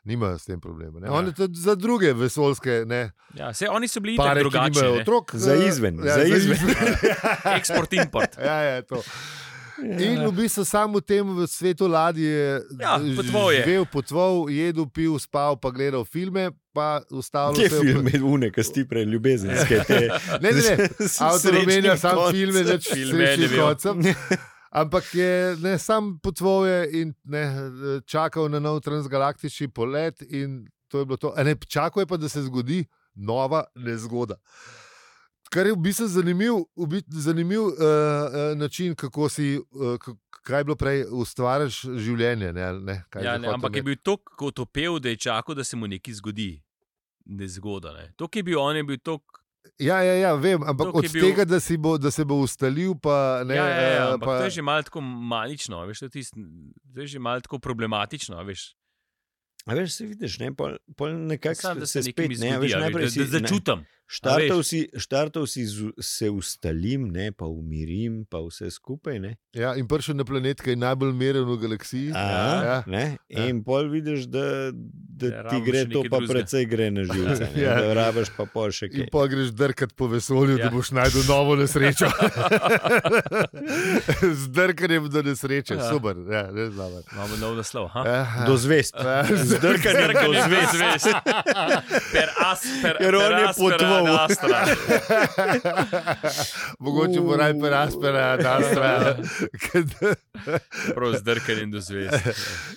[SPEAKER 2] Nimajo s tem problema. Ne.
[SPEAKER 1] Ja.
[SPEAKER 2] Oni tudi za druge vesoljske ne,
[SPEAKER 1] Ja, se, oni so bili itak
[SPEAKER 2] pare, ki
[SPEAKER 1] drugače.
[SPEAKER 2] nimajo
[SPEAKER 1] ne.
[SPEAKER 2] otrok.
[SPEAKER 3] Za
[SPEAKER 2] eh,
[SPEAKER 3] izven,
[SPEAKER 2] Ja,
[SPEAKER 3] za izven.
[SPEAKER 1] Eksport, import.
[SPEAKER 2] ja, ja, to.
[SPEAKER 3] Ja.
[SPEAKER 2] In v bistvu sam v tem v svetu ladje
[SPEAKER 1] Ja, potoval je.
[SPEAKER 2] živel, potoval, jedel, pil, spal, pa gledal filme, pa ustavljal
[SPEAKER 3] Te filme, une, ki si ti prej ljubezenske. Te,
[SPEAKER 2] Ne, ne, ne. Avtor omenja samo
[SPEAKER 3] sam
[SPEAKER 2] filme, več
[SPEAKER 1] Filme
[SPEAKER 2] filme,
[SPEAKER 1] ne
[SPEAKER 2] ne
[SPEAKER 1] vem.
[SPEAKER 2] kocem. Ampak je ne, sam potoval je in ne, čakal na nov transgalaktični polet, in to je bilo to. A Ne, čakal je pa, da se zgodi nova nezgoda. Kar je v bistvu zanimiv, v bit, zanimiv uh, način, kako si, uh, kaj je bilo prej, ustvariš življenje. Ne, ali ne, Kaj
[SPEAKER 1] Ja,
[SPEAKER 2] zdaj
[SPEAKER 1] ne,
[SPEAKER 2] hotel
[SPEAKER 1] ampak je
[SPEAKER 2] reči?
[SPEAKER 1] bil tako otopel, da je čakal, da se mu nekaj zgodi. Nezgoda. Ne. To, ki je bil on, je bil tako.
[SPEAKER 2] ja, ja, ja, vem, ampak
[SPEAKER 1] To, ki
[SPEAKER 2] od
[SPEAKER 1] je bil-
[SPEAKER 2] bil... tega, da, si bo, da se bo ustalil, pa ne.
[SPEAKER 1] Ja, ja, ja,
[SPEAKER 2] eh,
[SPEAKER 1] ampak
[SPEAKER 2] pa...
[SPEAKER 1] to je že malo tako manično, a veš, to, je tist, to je že malo tako problematično. a Veš.
[SPEAKER 3] A veš, se vidiš, ne, pol, pol nekako
[SPEAKER 1] Sam, da
[SPEAKER 3] se
[SPEAKER 1] se nekaj
[SPEAKER 3] spet ne, a
[SPEAKER 1] zgodi,
[SPEAKER 3] veš,
[SPEAKER 1] a
[SPEAKER 3] najprej
[SPEAKER 1] veš, da,
[SPEAKER 3] si
[SPEAKER 1] da začutim.
[SPEAKER 3] Štartov
[SPEAKER 1] veš.
[SPEAKER 3] si, štartov si z, se ustalim, ne, pa umirim, pa vse skupaj. Ne.
[SPEAKER 2] Ja, in prišel na planet, ki je najbolj meren v galaksiji.
[SPEAKER 3] A,
[SPEAKER 2] Ja.
[SPEAKER 3] ne?
[SPEAKER 2] Ja.
[SPEAKER 3] In pol vidiš, da, da
[SPEAKER 1] Da
[SPEAKER 3] ja, ti
[SPEAKER 1] rabiš
[SPEAKER 3] gre
[SPEAKER 1] nekaj
[SPEAKER 3] to, pa
[SPEAKER 1] drugega.
[SPEAKER 3] precej gre na živce. Ne?
[SPEAKER 2] Ja.
[SPEAKER 3] ja. Da rabiš pa pol še
[SPEAKER 2] In
[SPEAKER 3] kaj.
[SPEAKER 2] pa greš drkat po vesolju, ja. da
[SPEAKER 1] Ja.
[SPEAKER 2] boš najdel novo nesrečo. Z drkanjem do nesreče, ja.
[SPEAKER 1] Ja.
[SPEAKER 2] super, ja, res dobro.
[SPEAKER 1] Imamo nov naslov. ha?
[SPEAKER 2] Aha.
[SPEAKER 3] Do zvest.
[SPEAKER 2] Ja.
[SPEAKER 3] Eh, Zdrkanje do
[SPEAKER 1] Zrkanje
[SPEAKER 3] zvest.
[SPEAKER 1] zvezd. Per as, per,
[SPEAKER 3] Ker on
[SPEAKER 1] per
[SPEAKER 3] je
[SPEAKER 1] aspera
[SPEAKER 3] potoval.
[SPEAKER 1] ad astra.
[SPEAKER 2] Mogoče bo ja, raj peraspera, da stra.
[SPEAKER 1] Prav zdrkanjem do zvezd.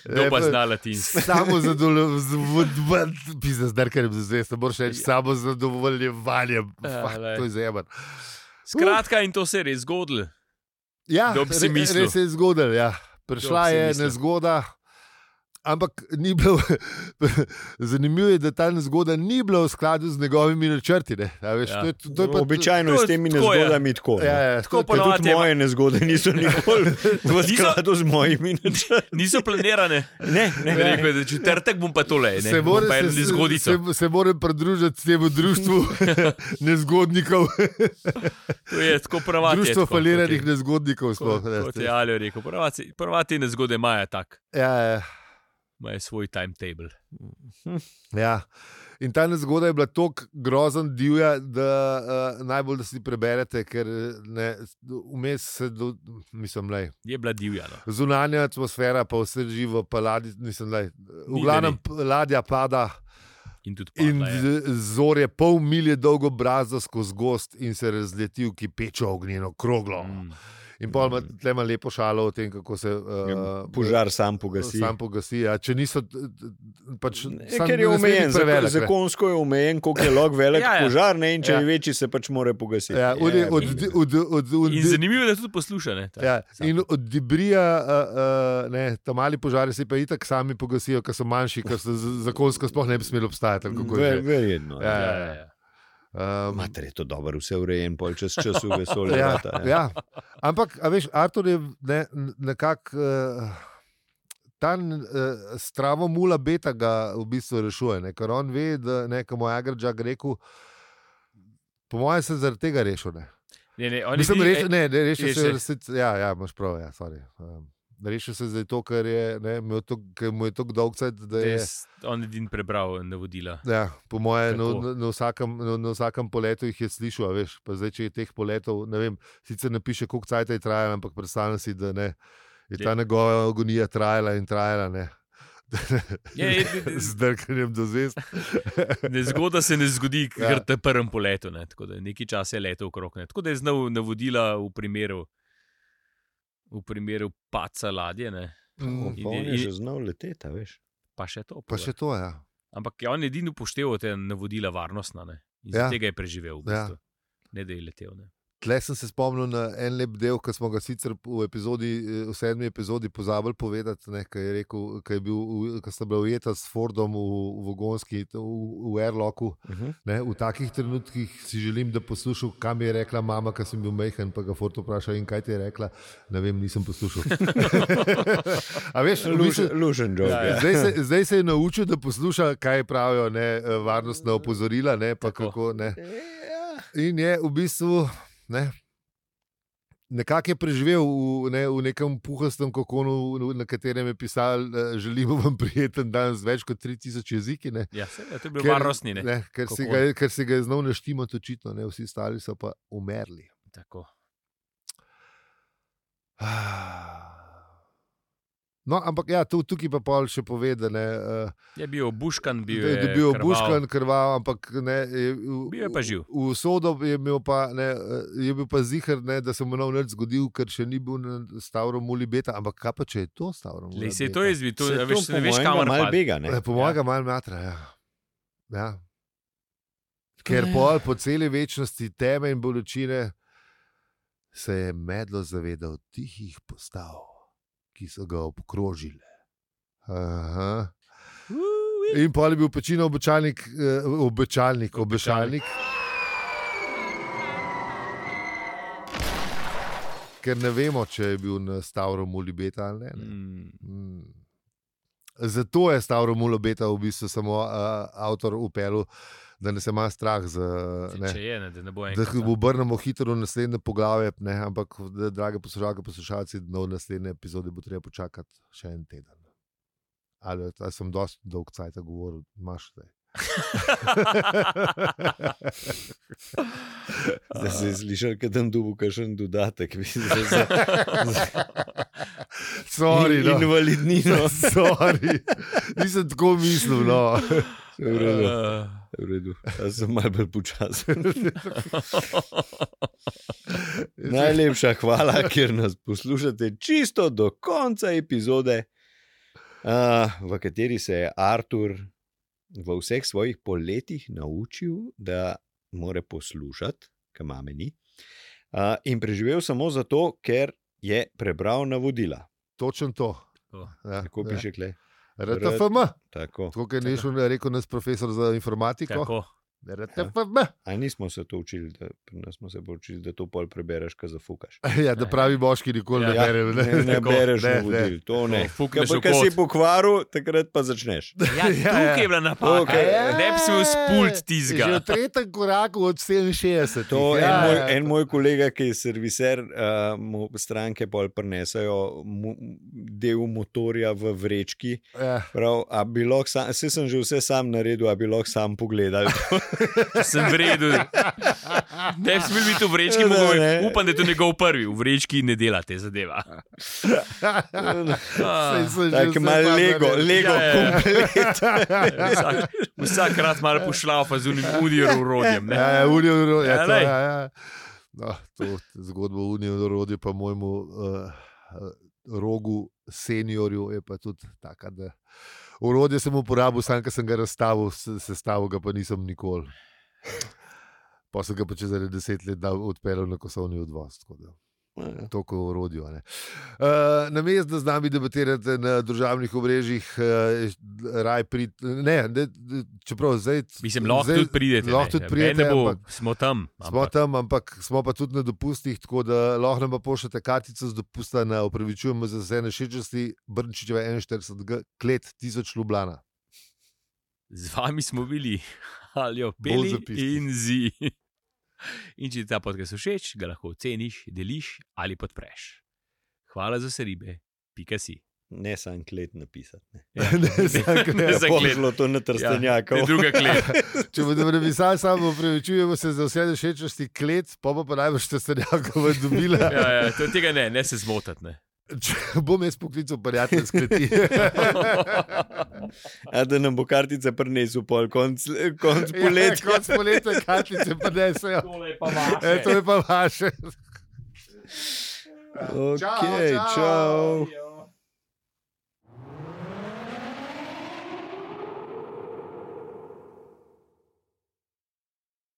[SPEAKER 1] Kdo
[SPEAKER 2] Ne,
[SPEAKER 1] pa
[SPEAKER 2] pa-
[SPEAKER 1] zna latinsko?
[SPEAKER 2] Samo zadovoljen, pisa z drkanjem za zvezde, moraš reči, samo zadovoljevanjem.
[SPEAKER 1] Ja,
[SPEAKER 2] Fak,
[SPEAKER 1] glej.
[SPEAKER 2] To je zemen.
[SPEAKER 1] Skratka, in to se je res zgodilo.
[SPEAKER 2] Ja,
[SPEAKER 1] Kdo bi si
[SPEAKER 2] re-
[SPEAKER 1] mislil?
[SPEAKER 2] Res se je zgodil. Ja. Prišla
[SPEAKER 1] Kdo bi si
[SPEAKER 2] je
[SPEAKER 1] mislil?
[SPEAKER 2] nezgoda. Ampak ni bilo, zanimivo je, da ta nezgoda ni bila v skladu z njegovimi načrti. ne. A Veš,
[SPEAKER 1] Ja.
[SPEAKER 2] ja. to je, to je pa,
[SPEAKER 3] Običajno je s temi
[SPEAKER 1] To je- tako je.
[SPEAKER 3] nezgodami tako.
[SPEAKER 2] Ja,
[SPEAKER 3] ne.
[SPEAKER 2] ja,
[SPEAKER 1] Tako
[SPEAKER 2] to-
[SPEAKER 3] Ker
[SPEAKER 1] ponovadi
[SPEAKER 3] Tudi
[SPEAKER 1] je-
[SPEAKER 3] moje nezgode niso nikoli v
[SPEAKER 1] Niso-
[SPEAKER 3] skladu z mojimi. načrti.
[SPEAKER 1] Niso planirane.
[SPEAKER 3] Ne, ne,
[SPEAKER 2] Ja.
[SPEAKER 1] Ne,
[SPEAKER 3] ne.
[SPEAKER 1] rekel, je, da četrtek bom pa tole. Ne,
[SPEAKER 2] Se
[SPEAKER 1] bom
[SPEAKER 2] mora,
[SPEAKER 1] pa
[SPEAKER 2] se,
[SPEAKER 1] eno zgodico.
[SPEAKER 2] se, se mora pridružiti temu društvu nezgodnikov,
[SPEAKER 1] To je tako pravati.
[SPEAKER 2] društvo faliranih nezgodnikov.
[SPEAKER 1] Kot,
[SPEAKER 2] Sploh,
[SPEAKER 1] kot ja. je
[SPEAKER 2] ne,
[SPEAKER 1] Aljo rekel, pravati, pravati ne zgode imajo tak,
[SPEAKER 2] ja, ja.
[SPEAKER 1] imajo svoj timetable.
[SPEAKER 2] Ja. In ta nezgoda je bila tako grozna, divja, da uh, najbolj da si preberete, ker eh, ne, vmes se, do, mislim, le.
[SPEAKER 1] Je bila divja. No.
[SPEAKER 2] Zunanja atmosfera, pa vse živo, pa ladje, nisem le. V
[SPEAKER 1] Ni,
[SPEAKER 2] glavnem
[SPEAKER 1] ni.
[SPEAKER 2] p- ladja pada
[SPEAKER 1] In tudi
[SPEAKER 2] in
[SPEAKER 1] padla, je.
[SPEAKER 2] z- zor je pol milje dolgo brazdo skozi gost in se razleti v kipečo ognjeno kroglo. Mm.
[SPEAKER 1] Mm.
[SPEAKER 2] In pol ima tlema lepo šalo o tem, kako se uh,
[SPEAKER 3] Požar sam pogasi.
[SPEAKER 2] Sam pogasi, ja. če niso, t- t- pač,
[SPEAKER 3] Ne,
[SPEAKER 2] sam
[SPEAKER 3] Ker je
[SPEAKER 2] ne sme biti
[SPEAKER 3] omejen,
[SPEAKER 2] prevelik,
[SPEAKER 3] prevelik,
[SPEAKER 2] ne.
[SPEAKER 3] zakonsko je omejen, koliko je lahko velik
[SPEAKER 1] Ja,
[SPEAKER 3] ja,
[SPEAKER 1] ja.
[SPEAKER 3] ja. požar, ne, in če
[SPEAKER 2] Ja.
[SPEAKER 3] ja. je večji, se pač mora pogasiti.
[SPEAKER 2] Ja, od,
[SPEAKER 3] Je,
[SPEAKER 2] od,
[SPEAKER 3] je.
[SPEAKER 2] od, od, od,
[SPEAKER 1] In zanimivo je, da tudi poslušane.
[SPEAKER 2] Ja, in od debrija, uh, uh, ne, tam mali požari se pa itak sami pogasijo, ker so manjši, ker so z- zakonsko sploh ne bi smeli obstajati. ali kako je
[SPEAKER 3] Ver,
[SPEAKER 2] že.
[SPEAKER 3] verjetno.
[SPEAKER 2] Ja,
[SPEAKER 3] Ja.
[SPEAKER 1] Ja, ja, ja.
[SPEAKER 2] Um,
[SPEAKER 3] Mater je to dobro, vse urejen, pol čez čas v vesolju.
[SPEAKER 2] ja,
[SPEAKER 3] vrata, ja.
[SPEAKER 2] ja. Ampak, a veš, Artur je ne, nekako uh, ta uh, stravo mula beta ga v bistvu rešuje, ne, ker on ve, da nekaj moj agrđak rekel. Po mojem se je zaradi tega rešil. Ne.
[SPEAKER 1] Ne, ne, on je
[SPEAKER 2] Mislim,
[SPEAKER 1] bil-
[SPEAKER 2] rešil, ne, ne, rešil
[SPEAKER 1] je
[SPEAKER 2] se
[SPEAKER 1] še-
[SPEAKER 2] je resnic, ja, ja, imaš prav, ja, sorry. Um, rešil se je zato, ker, je, ne, imel to, ker mu je tako dolg cajt, da
[SPEAKER 1] da
[SPEAKER 2] je.
[SPEAKER 1] je s- eh, On je edin prebral navodila.
[SPEAKER 2] Ja, po mojem, na,
[SPEAKER 1] Tako.
[SPEAKER 2] na, na, vsakem, no, na, na vsakem poletu jih je slišal, a veš. Pa zdaj, če je teh poletov, ne vem, sicer ne piše, koliko cajt je trajalo, ampak predstavljam si, da ne, je ta
[SPEAKER 1] Je.
[SPEAKER 2] njegova agonija trajala in trajala. Ne.
[SPEAKER 1] Je, je, je, je,
[SPEAKER 2] Z drkanjem do zvest.
[SPEAKER 1] Ne zgoda se ne zgodi,
[SPEAKER 2] Ja.
[SPEAKER 1] ker ja. te prvem poletu, ne, tako da nekaj časa je letel okrog. Ne. Tako da je znal navodila v primeru, v primeru paca ladje, ne.
[SPEAKER 3] On
[SPEAKER 2] Mm,
[SPEAKER 3] pa
[SPEAKER 1] In-
[SPEAKER 3] on je
[SPEAKER 1] in-
[SPEAKER 3] že znal leteti, a veš.
[SPEAKER 1] pa še to.
[SPEAKER 2] Pa
[SPEAKER 1] pove.
[SPEAKER 2] še to, ja.
[SPEAKER 1] Ampak je on edini upošteval te navodila varnostna ne. in
[SPEAKER 2] Ja.
[SPEAKER 1] ja. tega je preživel. V
[SPEAKER 2] Ja.
[SPEAKER 1] bistvu. ja. Ne da je letel. Ne.
[SPEAKER 2] Tle sem se spomnil na en lep del, ki smo ga sicer v, epizodi, eh, v sedmi epizodi pozabili povedati, ne, ki je rekel, ki je bil, v- ki sta bila ujeta s Fordom v, v vogonski, v, v airlocku.
[SPEAKER 3] Mhm.
[SPEAKER 2] Ne, v takih trenutkih si želim, da poslušam, kam je rekla mama, ki sem bil mehen, pa ga Ford vprašal in kaj ti je rekla. Ne vem, nisem poslušal. A veš, v bistvu-
[SPEAKER 3] Lužen, lužen job. Ja,
[SPEAKER 2] Zdaj se, zdaj se je naučil, da posluša, kaj pravijo ne, eh, varnostna opozorila. Ne, pa
[SPEAKER 1] Tako.
[SPEAKER 2] kako, ne.
[SPEAKER 3] ja.
[SPEAKER 2] In je v bistvu ne, nekako je preživel v, ne, v nekem puhastem kokonu, v- na katerem je pisal, eh, želimo vam prijeten dan z več kot 3000 jeziki. Ne.
[SPEAKER 1] Ja, se, ja, to je bilo varnostni. Ne.
[SPEAKER 2] Ne, ker, si
[SPEAKER 1] Kokon.
[SPEAKER 2] ga, je- ker si ga je znal naštimati, očitno, ne, vsi ostali so pa umrli.
[SPEAKER 1] Tako.
[SPEAKER 2] Ah. No, ampak ja, tu, tukaj pa pol še povedane. Uh,
[SPEAKER 1] Je bil obuškan, bil
[SPEAKER 2] da
[SPEAKER 1] je,
[SPEAKER 2] je bil
[SPEAKER 1] krvav.
[SPEAKER 2] obuškan, krvav, ampak ne. Je, v-
[SPEAKER 1] Bil je pa živ.
[SPEAKER 2] V sodo je imel pa, ne, eh, je bil pa zihar, ne, da se mu nov nič zgodil, ker še ni bil na Stavru Mulibeta. Ampak kaj pa če je to Stavro
[SPEAKER 1] Lej,
[SPEAKER 2] Mulibeta?
[SPEAKER 1] se je to izvid, to,
[SPEAKER 3] Se
[SPEAKER 1] a veš,
[SPEAKER 3] to
[SPEAKER 1] ne
[SPEAKER 3] po
[SPEAKER 1] veš,
[SPEAKER 3] mojem
[SPEAKER 1] kamor
[SPEAKER 3] malo
[SPEAKER 1] pade.
[SPEAKER 3] bega. ne.
[SPEAKER 2] Ne, po mojem, ja. malo matra. Ja. Ja. Ker pol po celi večnosti teme in bolečine se je medlo zavedal tihih postav, ki so ga obkrožile. Aha. In pol je bil pečino obečalnik, eh, obečalnik, obešalnik. Ker ne vemo, če je bil na Stavru Mulibeta ali ne. ne.
[SPEAKER 1] Mm,
[SPEAKER 2] Mm. Zato je Stavro Mulobeta v bistvu samo uh, avtor upelil, da ne se ima strah. Z, ne,
[SPEAKER 1] Če je, ne, da ne bo
[SPEAKER 2] da
[SPEAKER 1] enkrat.
[SPEAKER 2] jih
[SPEAKER 3] ja.
[SPEAKER 2] obrnemo hitro v naslednje poglavje, ne, ampak, da, drage poslušalke, poslušalci, no, v naslednje epizode bo treba počakati še en teden. Ali ali sem dosti dolg cajt govoril, imaš zdaj.
[SPEAKER 3] Zdaj se je slišal, da tam dubu kakšen dodatek, mislim, da za
[SPEAKER 2] Sorry,
[SPEAKER 3] in-
[SPEAKER 2] no.
[SPEAKER 3] invalidnino.
[SPEAKER 2] Sorry. Nisem tako mislil. No.
[SPEAKER 3] V redu, v redu. Jaz sem malo bolj počasen. Najlepša hvala, ker nas poslušate čisto do konca epizode, a, v kateri se je Artur v vseh svojih poletjih naučil, da more poslušati, kam meni. a, In preživel samo zato, ker je prebral navodila.
[SPEAKER 2] Točen to.
[SPEAKER 1] To.
[SPEAKER 2] Ja,
[SPEAKER 3] Tako
[SPEAKER 2] ja.
[SPEAKER 3] piše, kle.
[SPEAKER 2] RTFM, tako
[SPEAKER 3] Tako.
[SPEAKER 2] kot je Nešun rekel naš profesor za informatiko.
[SPEAKER 1] Tako.
[SPEAKER 2] RTFM,
[SPEAKER 3] A nismo se to učili, da, pri nas smo se bolj učili, da to pol prebereš, ko zafukaš.
[SPEAKER 2] ja, da pravi boški nikoli ne
[SPEAKER 1] Ja,
[SPEAKER 2] bere.
[SPEAKER 3] ne, ne, ne
[SPEAKER 2] Tako,
[SPEAKER 3] bereš
[SPEAKER 2] ne,
[SPEAKER 3] navodil, to ne.
[SPEAKER 1] Fukneš v
[SPEAKER 3] Ker ja, si
[SPEAKER 1] kot.
[SPEAKER 3] pokvaril, takrat pa začneš.
[SPEAKER 1] Ja, tukaj je bila napaka.
[SPEAKER 3] Okej.
[SPEAKER 1] Okay. Ne bi se uspult
[SPEAKER 2] ja? Že
[SPEAKER 1] tizga.
[SPEAKER 2] v tretjem koraku od 67.
[SPEAKER 3] To ja,
[SPEAKER 2] ja,
[SPEAKER 3] en, moj,
[SPEAKER 2] ja.
[SPEAKER 3] en moj kolega, ki je serviser, uh, mu stranke pol prenesajo mu, del motorja v vrečki.
[SPEAKER 2] Ja.
[SPEAKER 3] Prav, a bi lahko sam, vse sem že vse sam naredil, a bi lahko sam pogledal.
[SPEAKER 1] Sem v redu. Ne bi smel biti v vrečki,
[SPEAKER 3] Ne,
[SPEAKER 1] mogoče.
[SPEAKER 3] ne.
[SPEAKER 1] Upam, da je to njegov prvi. V vrečki ne dela te zadeva.
[SPEAKER 2] Ja, Saj
[SPEAKER 1] Ah,
[SPEAKER 2] sem že
[SPEAKER 3] Tako
[SPEAKER 2] vse
[SPEAKER 3] malo
[SPEAKER 2] pa
[SPEAKER 3] lego,
[SPEAKER 2] naredil.
[SPEAKER 3] lego
[SPEAKER 1] Ja, ja, ja.
[SPEAKER 3] komplet.
[SPEAKER 1] Vsak, vsak raz malo pošlava z unim udirjem urodjem. ne.
[SPEAKER 2] Ja, ja, unijo, ja,
[SPEAKER 1] Ja,
[SPEAKER 2] to,
[SPEAKER 1] lej.
[SPEAKER 2] ja, ja. No, to zgodbo o unijo rodi, pa mojemu uh, rogu, seniorju, je pa tudi taka. Da... Urodje sem uporabil, sam, ker sem ga razstavil, s- sestavil ga pa nisem nikoli. Pa sem ga pa čez ene deset let dal, odpeljal na kosovni odvoz. tako da.
[SPEAKER 1] Ja,
[SPEAKER 2] Toliko o orodju. Uh, na mestu, da z nami debatirate na družbenih omrežjih, uh, raj prid. Ne, ne, čeprav zdaj.
[SPEAKER 1] Mislim, lahko
[SPEAKER 2] zdaj
[SPEAKER 1] tudi pridete.
[SPEAKER 2] Lahko tudi pridete,
[SPEAKER 1] Ne bo,
[SPEAKER 2] ampak-
[SPEAKER 1] smo tam.
[SPEAKER 2] Smo
[SPEAKER 1] ampak-
[SPEAKER 2] tam, ampak smo pa tudi na dopustih, tako da lahko nam pa pošljete kartico z dopusta na upravičujemo za vse nešečnosti, Brnčičeva 41, klet 1000 Ljubljana.
[SPEAKER 1] Z vami smo bili ali
[SPEAKER 2] Bolj
[SPEAKER 1] opeli
[SPEAKER 2] zapisni.
[SPEAKER 1] in zi. In če ti ta podcast všeč, ga lahko oceniš, deliš ali podpreš. Hvala za vse ribe, pika si.
[SPEAKER 3] Ne, sam klet napisati. ne.
[SPEAKER 2] Ne, samo klet.
[SPEAKER 1] Ne,
[SPEAKER 3] Ja,
[SPEAKER 1] za
[SPEAKER 3] pol
[SPEAKER 1] klet. Ja,
[SPEAKER 3] bilo to na trstenjakov.
[SPEAKER 1] Ne, druga klet.
[SPEAKER 2] Če bomo napisali, samo upravičujemo se za vse nešečnosti, klet, pa bo pa najbrž te stvarjakova dobila.
[SPEAKER 1] Ja, ja, to, tega ne, ne se zmotati. ne.
[SPEAKER 2] Če bom jaz poklical prijatelje skleti. Ja,
[SPEAKER 3] A da nam bo kartica prinesel pol konc, konc
[SPEAKER 2] Ja,
[SPEAKER 3] poletja.
[SPEAKER 2] Kot poletne kartice prinesejo. E, to je pa vaše.
[SPEAKER 3] Ok,
[SPEAKER 2] Čau, čau.
[SPEAKER 3] čau.
[SPEAKER 2] čau.